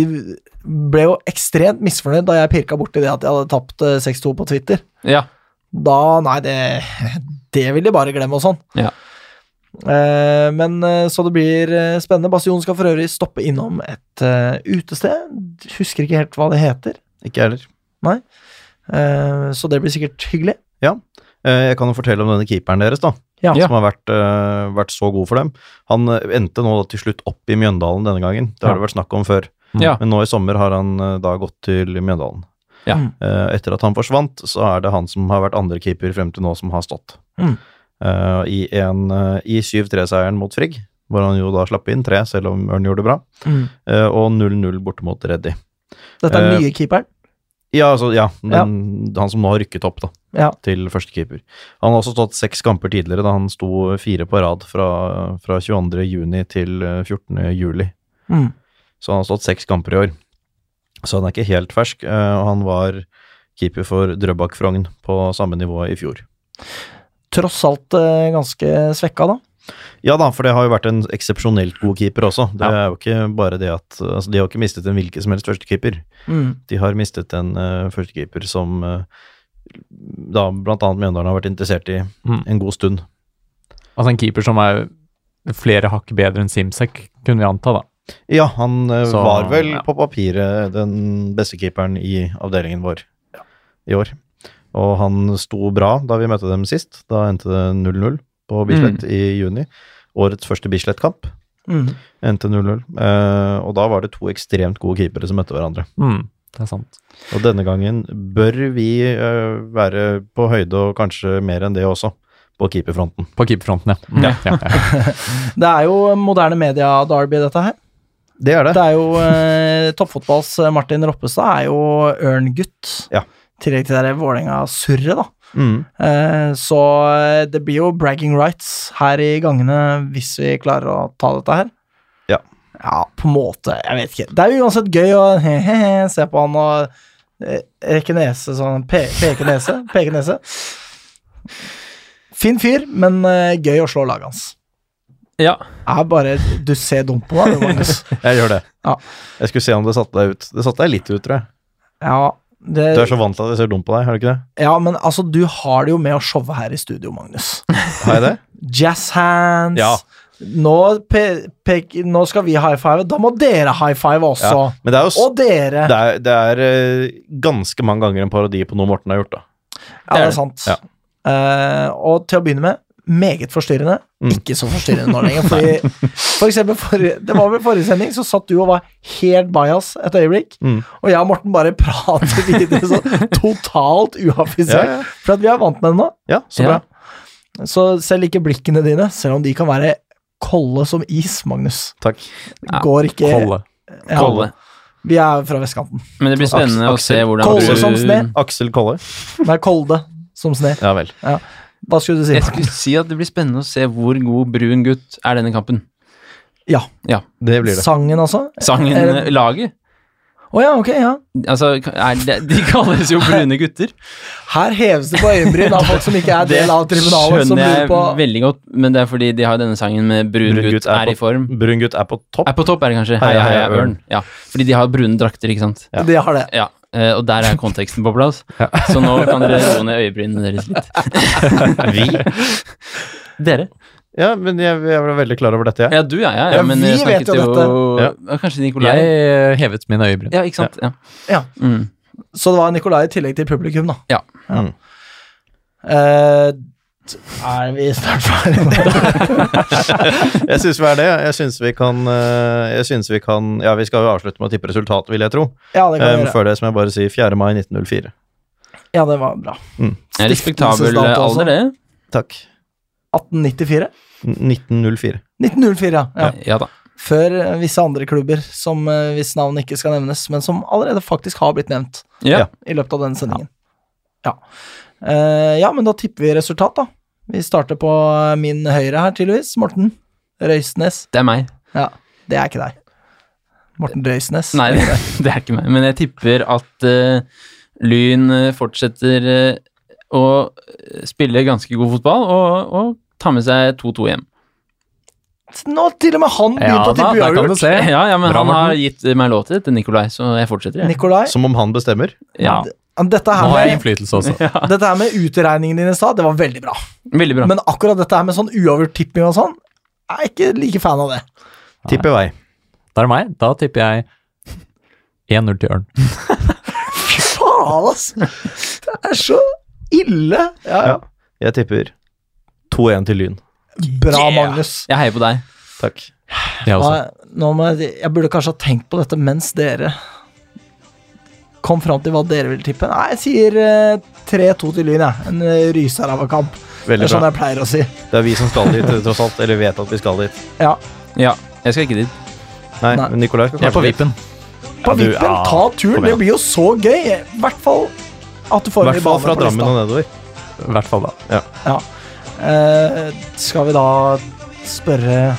ble jo ekstremt misfornøyd da jeg pirka borti det at jeg hadde tapt eh, 6-2 på Twitter. Ja. Da Nei, det, det vil de bare glemme og sånn. Ja. Eh, men eh, så det blir eh, spennende. Bastion skal for øvrig stoppe innom et eh, utested. Husker ikke helt hva det heter, Ikke jeg heller. eh, så det blir sikkert hyggelig. Eh, Jeg kan jo fortelle om denne keeperen deres, da. Ja. Som har vært, eh, vært så god for dem. Han eh, endte nå da til slutt opp i Mjøndalen denne gangen. Det har Ja. det vært snakk om før. Ja. Men nå i sommer har han eh, da gått til Mjøndalen. Ja. Mm. Eh, Etter at han forsvant, så er det han som har vært andrekeeper frem til nå, som har stått. Mm. Eh, I, en, eh, i 7-3-seieren mot Frigg, hvor han jo da slapp inn tre, selv om Ørn gjorde det bra, eh, og 0-0 borte mot Reddy. Dette er Eh, den nye keeperen. Ja, altså, ja, den, han som nå har rykket opp da, Ja. til førstekeeper. Han har også stått seks kamper tidligere, da han sto fire på rad fra, fra 22. juni til eh, 14. juli. Mm. Så han har stått seks kamper i år. Så han er ikke helt fersk, eh, og han var keeper for Drøbak Frogn på samme nivå i fjor. Tross alt eh, ganske svekka, da. Ja da, for det har jo vært en eksepsjonelt god keeper også. Det Ja. er jo ikke bare det at altså, De har ikke mistet en hvilken som helst førstekeeper. De har mistet en eh, førstekeeper som eh, da blant annet Mjøndalen har vært interessert i Mm. en god stund. Altså en keeper som er flere hakk bedre enn Simsek, kunne vi anta, da. Ja, han eh, Så, var vel ja. på papiret den beste keeperen i avdelingen vår i år. Og han sto bra da vi møtte dem sist. Da endte det 0-0 på Bislett Mm. i juni. Årets første Bislett-kamp Mm. endte 0-0. Eh, og da var det to ekstremt gode keepere som møtte hverandre. Mm, det er sant. Og denne gangen bør vi eh, være på høyde og kanskje mer enn det også, på keeperfronten. På keeperfronten, ja. Mm, Ja. ja, ja. Det er jo moderne media-derby, dette her. Det er det. Det er jo eh, Toppfotballs Martin Roppestad er jo Ørn-gutt. Ja. I tillegg til det der Vålerenga-surret, da. Mm. Eh, så eh, det blir jo bragging rights her i gangene hvis vi klarer å ta dette her. Ja. Ja, på en måte. Jeg vet ikke. Det er jo uansett gøy å he-he-he se på han og eh, rekke nese sånn. Pe peke nese. Peke nese. Fin fyr, men eh, gøy å slå laget hans. ja. Er bare Du ser dumt på meg, du, Magnus. Jeg gjør det. Ja. Jeg skulle se om det satte deg ut. Det satte deg litt ut, tror jeg. Ja, det, Du er så vant til at jeg ser dum på deg, har du ikke det? ja, men altså, du har det jo med å showe her i studio, Magnus. Har jeg det? Jazz hands. Ja. Nå, pe pek, nå skal vi high five. Da må dere high five Ja. også. Men det er jo s- Og dere. det er, det er eh, ganske mange ganger en parodi på noe Morten har gjort, da. ja, det er sant. Ja. Eh, og til å begynne med, meget forstyrrende. Mm. Ikke så forstyrrende nå lenger. Fordi, for eksempel, for, det var vel forrige sending, så satt du og var helt bias et øyeblikk. Mm. Og jeg og Morten bare prater videre sånn totalt uaffisert. Ja, ja. For at vi er vant med det nå. Ja, så Ja. bra. Så selv ikke blikkene dine, selv om de kan være kolde som is, Magnus, Takk. Ja, går ikke Kolle. Ja, Kolle. Vi er fra vestkanten. Men det blir spennende å se hvordan Kolle som sne. Aksel Kolle. Det er kolde som sne. Ja vel. Hva skulle du si? Jeg skulle si at det blir spennende å se hvor god brun gutt er denne kampen. Ja. Det blir det. Sangen, altså? Å Sangen Er eh, laget. ja, ok, ja. Altså, er det, de kalles jo brune gutter. Her heves det på øyenbryn av folk som ikke er del av tribunalet, som skjønner lurer jeg på veldig godt, men det er fordi de har denne sangen med brun, gutt, er, i form. Brun gutt er på topp. Er på topp, er det kanskje. Hei, Heia, hei, heia, ørn. ørn. Ja, fordi de har brune drakter, ikke sant. Ja. De har det. Ja, eh, og der er konteksten på plass. Så nå kan dere roe ned øyebrynene deres litt. Vi? Dere? Ja, men jeg, jeg var veldig klar over dette, jeg. Ja, du, ja. ja, ja, Ja, men vi jeg snakket vet jo Ja. Kanskje Nikolai? Jeg eh, hevet mine øyebryn. Ja, ikke sant. Ja. Ja. Mm. Så det var Nikolai i tillegg til publikum, da. Ja. Mm. Eh, t- er vi snart ferdige nå? Jeg syns vi er det. Jeg syns vi kan eh, Jeg synes vi kan Ja, vi skal jo avslutte med å tippe resultatet, vil jeg tro. Ja, det kan Eh, vi men gjøre. før det så må jeg bare si 4. mai 1904. Ja, det var bra. En Respektabel Stiftelsesdato også. alder, det. Takk. 1894? N- 1904. 1904, ja. ja. Ja da. Før eh, visse andre klubber, som eh, hvis navn ikke skal nevnes, men som allerede faktisk har blitt nevnt. Ja. Ja. i løpet av denne sendingen. Ja. Eh, ja, men da tipper vi eh, resultat, da. Vi starter på min høyre her, tydeligvis. Morten Røysnes. Det er meg. Ja, det er ikke deg. Morten Drøysnes. Nei, det, det er ikke meg. Men jeg tipper at eh, Lyn eh, fortsetter eh, å eh, spille ganske god fotball og, og ta med seg 2-2 hjem. Nå til og med han begynte Ja å da, tippe der kan du uavgjort. se. Ja, ja, men Bra, han har Morten. gitt meg lov til dette, Nikolai, så jeg fortsetter. Jeg. Nikolai, Som om han bestemmer. Ja. dette Nå her har jeg med, innflytelse også. dette her med utregningene dine i stad, det var veldig bra. Veldig bra. Men akkurat dette her med sånn uavgjort tipping og sånn, jeg er ikke like fan av det. Tipper vei. Da er det meg. Da tipper jeg 1-0 til Ørn. Fy faen, ass! Det er så ille! Ja, Ja. Jeg tipper 2-1 til Lyn. Bra, Yeah. Magnus. Jeg heier på deg. Takk. Det er også. Nei, Altså. nå må jeg, jeg burde kanskje ha tenkt på dette mens dere kom fram til hva dere ville tippe. Nei, jeg sier eh, 3-2 til Lyn, jeg. En eh, ryser av en kamp. Det Veldig er sånn bra. jeg pleier å si. Det er vi som skal dit, tross alt. Eller vet at vi skal dit. Ja. Ja, jeg skal ikke dit. Nei, Nei. men Nikolai skal Jeg er på kanskje dit. vippen. På Ja, du- vippen, ja, ta turen. kom Det igjen. blir jo så gøy. I hvert fall at du I får den hvert i fall bane fra på Drammen lista. og nedover. I hvert fall da. Eh, skal vi da spørre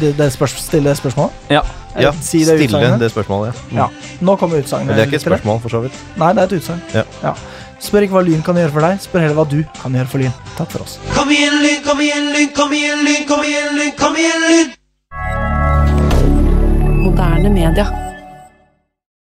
det, det spørs, Stille det spørsmålet? Ja. Eh, Ja, si det stille utsagnet. det spørsmålet. Ja. Ja. Nå kommer utsagnet. Mm. Men det er ikke et lyttere. spørsmål, for så vidt. Nei, det er et utsagn. Ja. Spør ikke hva Lyn kan gjøre for deg, spør heller hva du kan gjøre for Lyn. Takk for oss. Kom igjen, Lyn, kom igjen, Lyn, kom igjen, Lyn, kom igjen, Lyn, kom igjen, Lyn! Moderne media.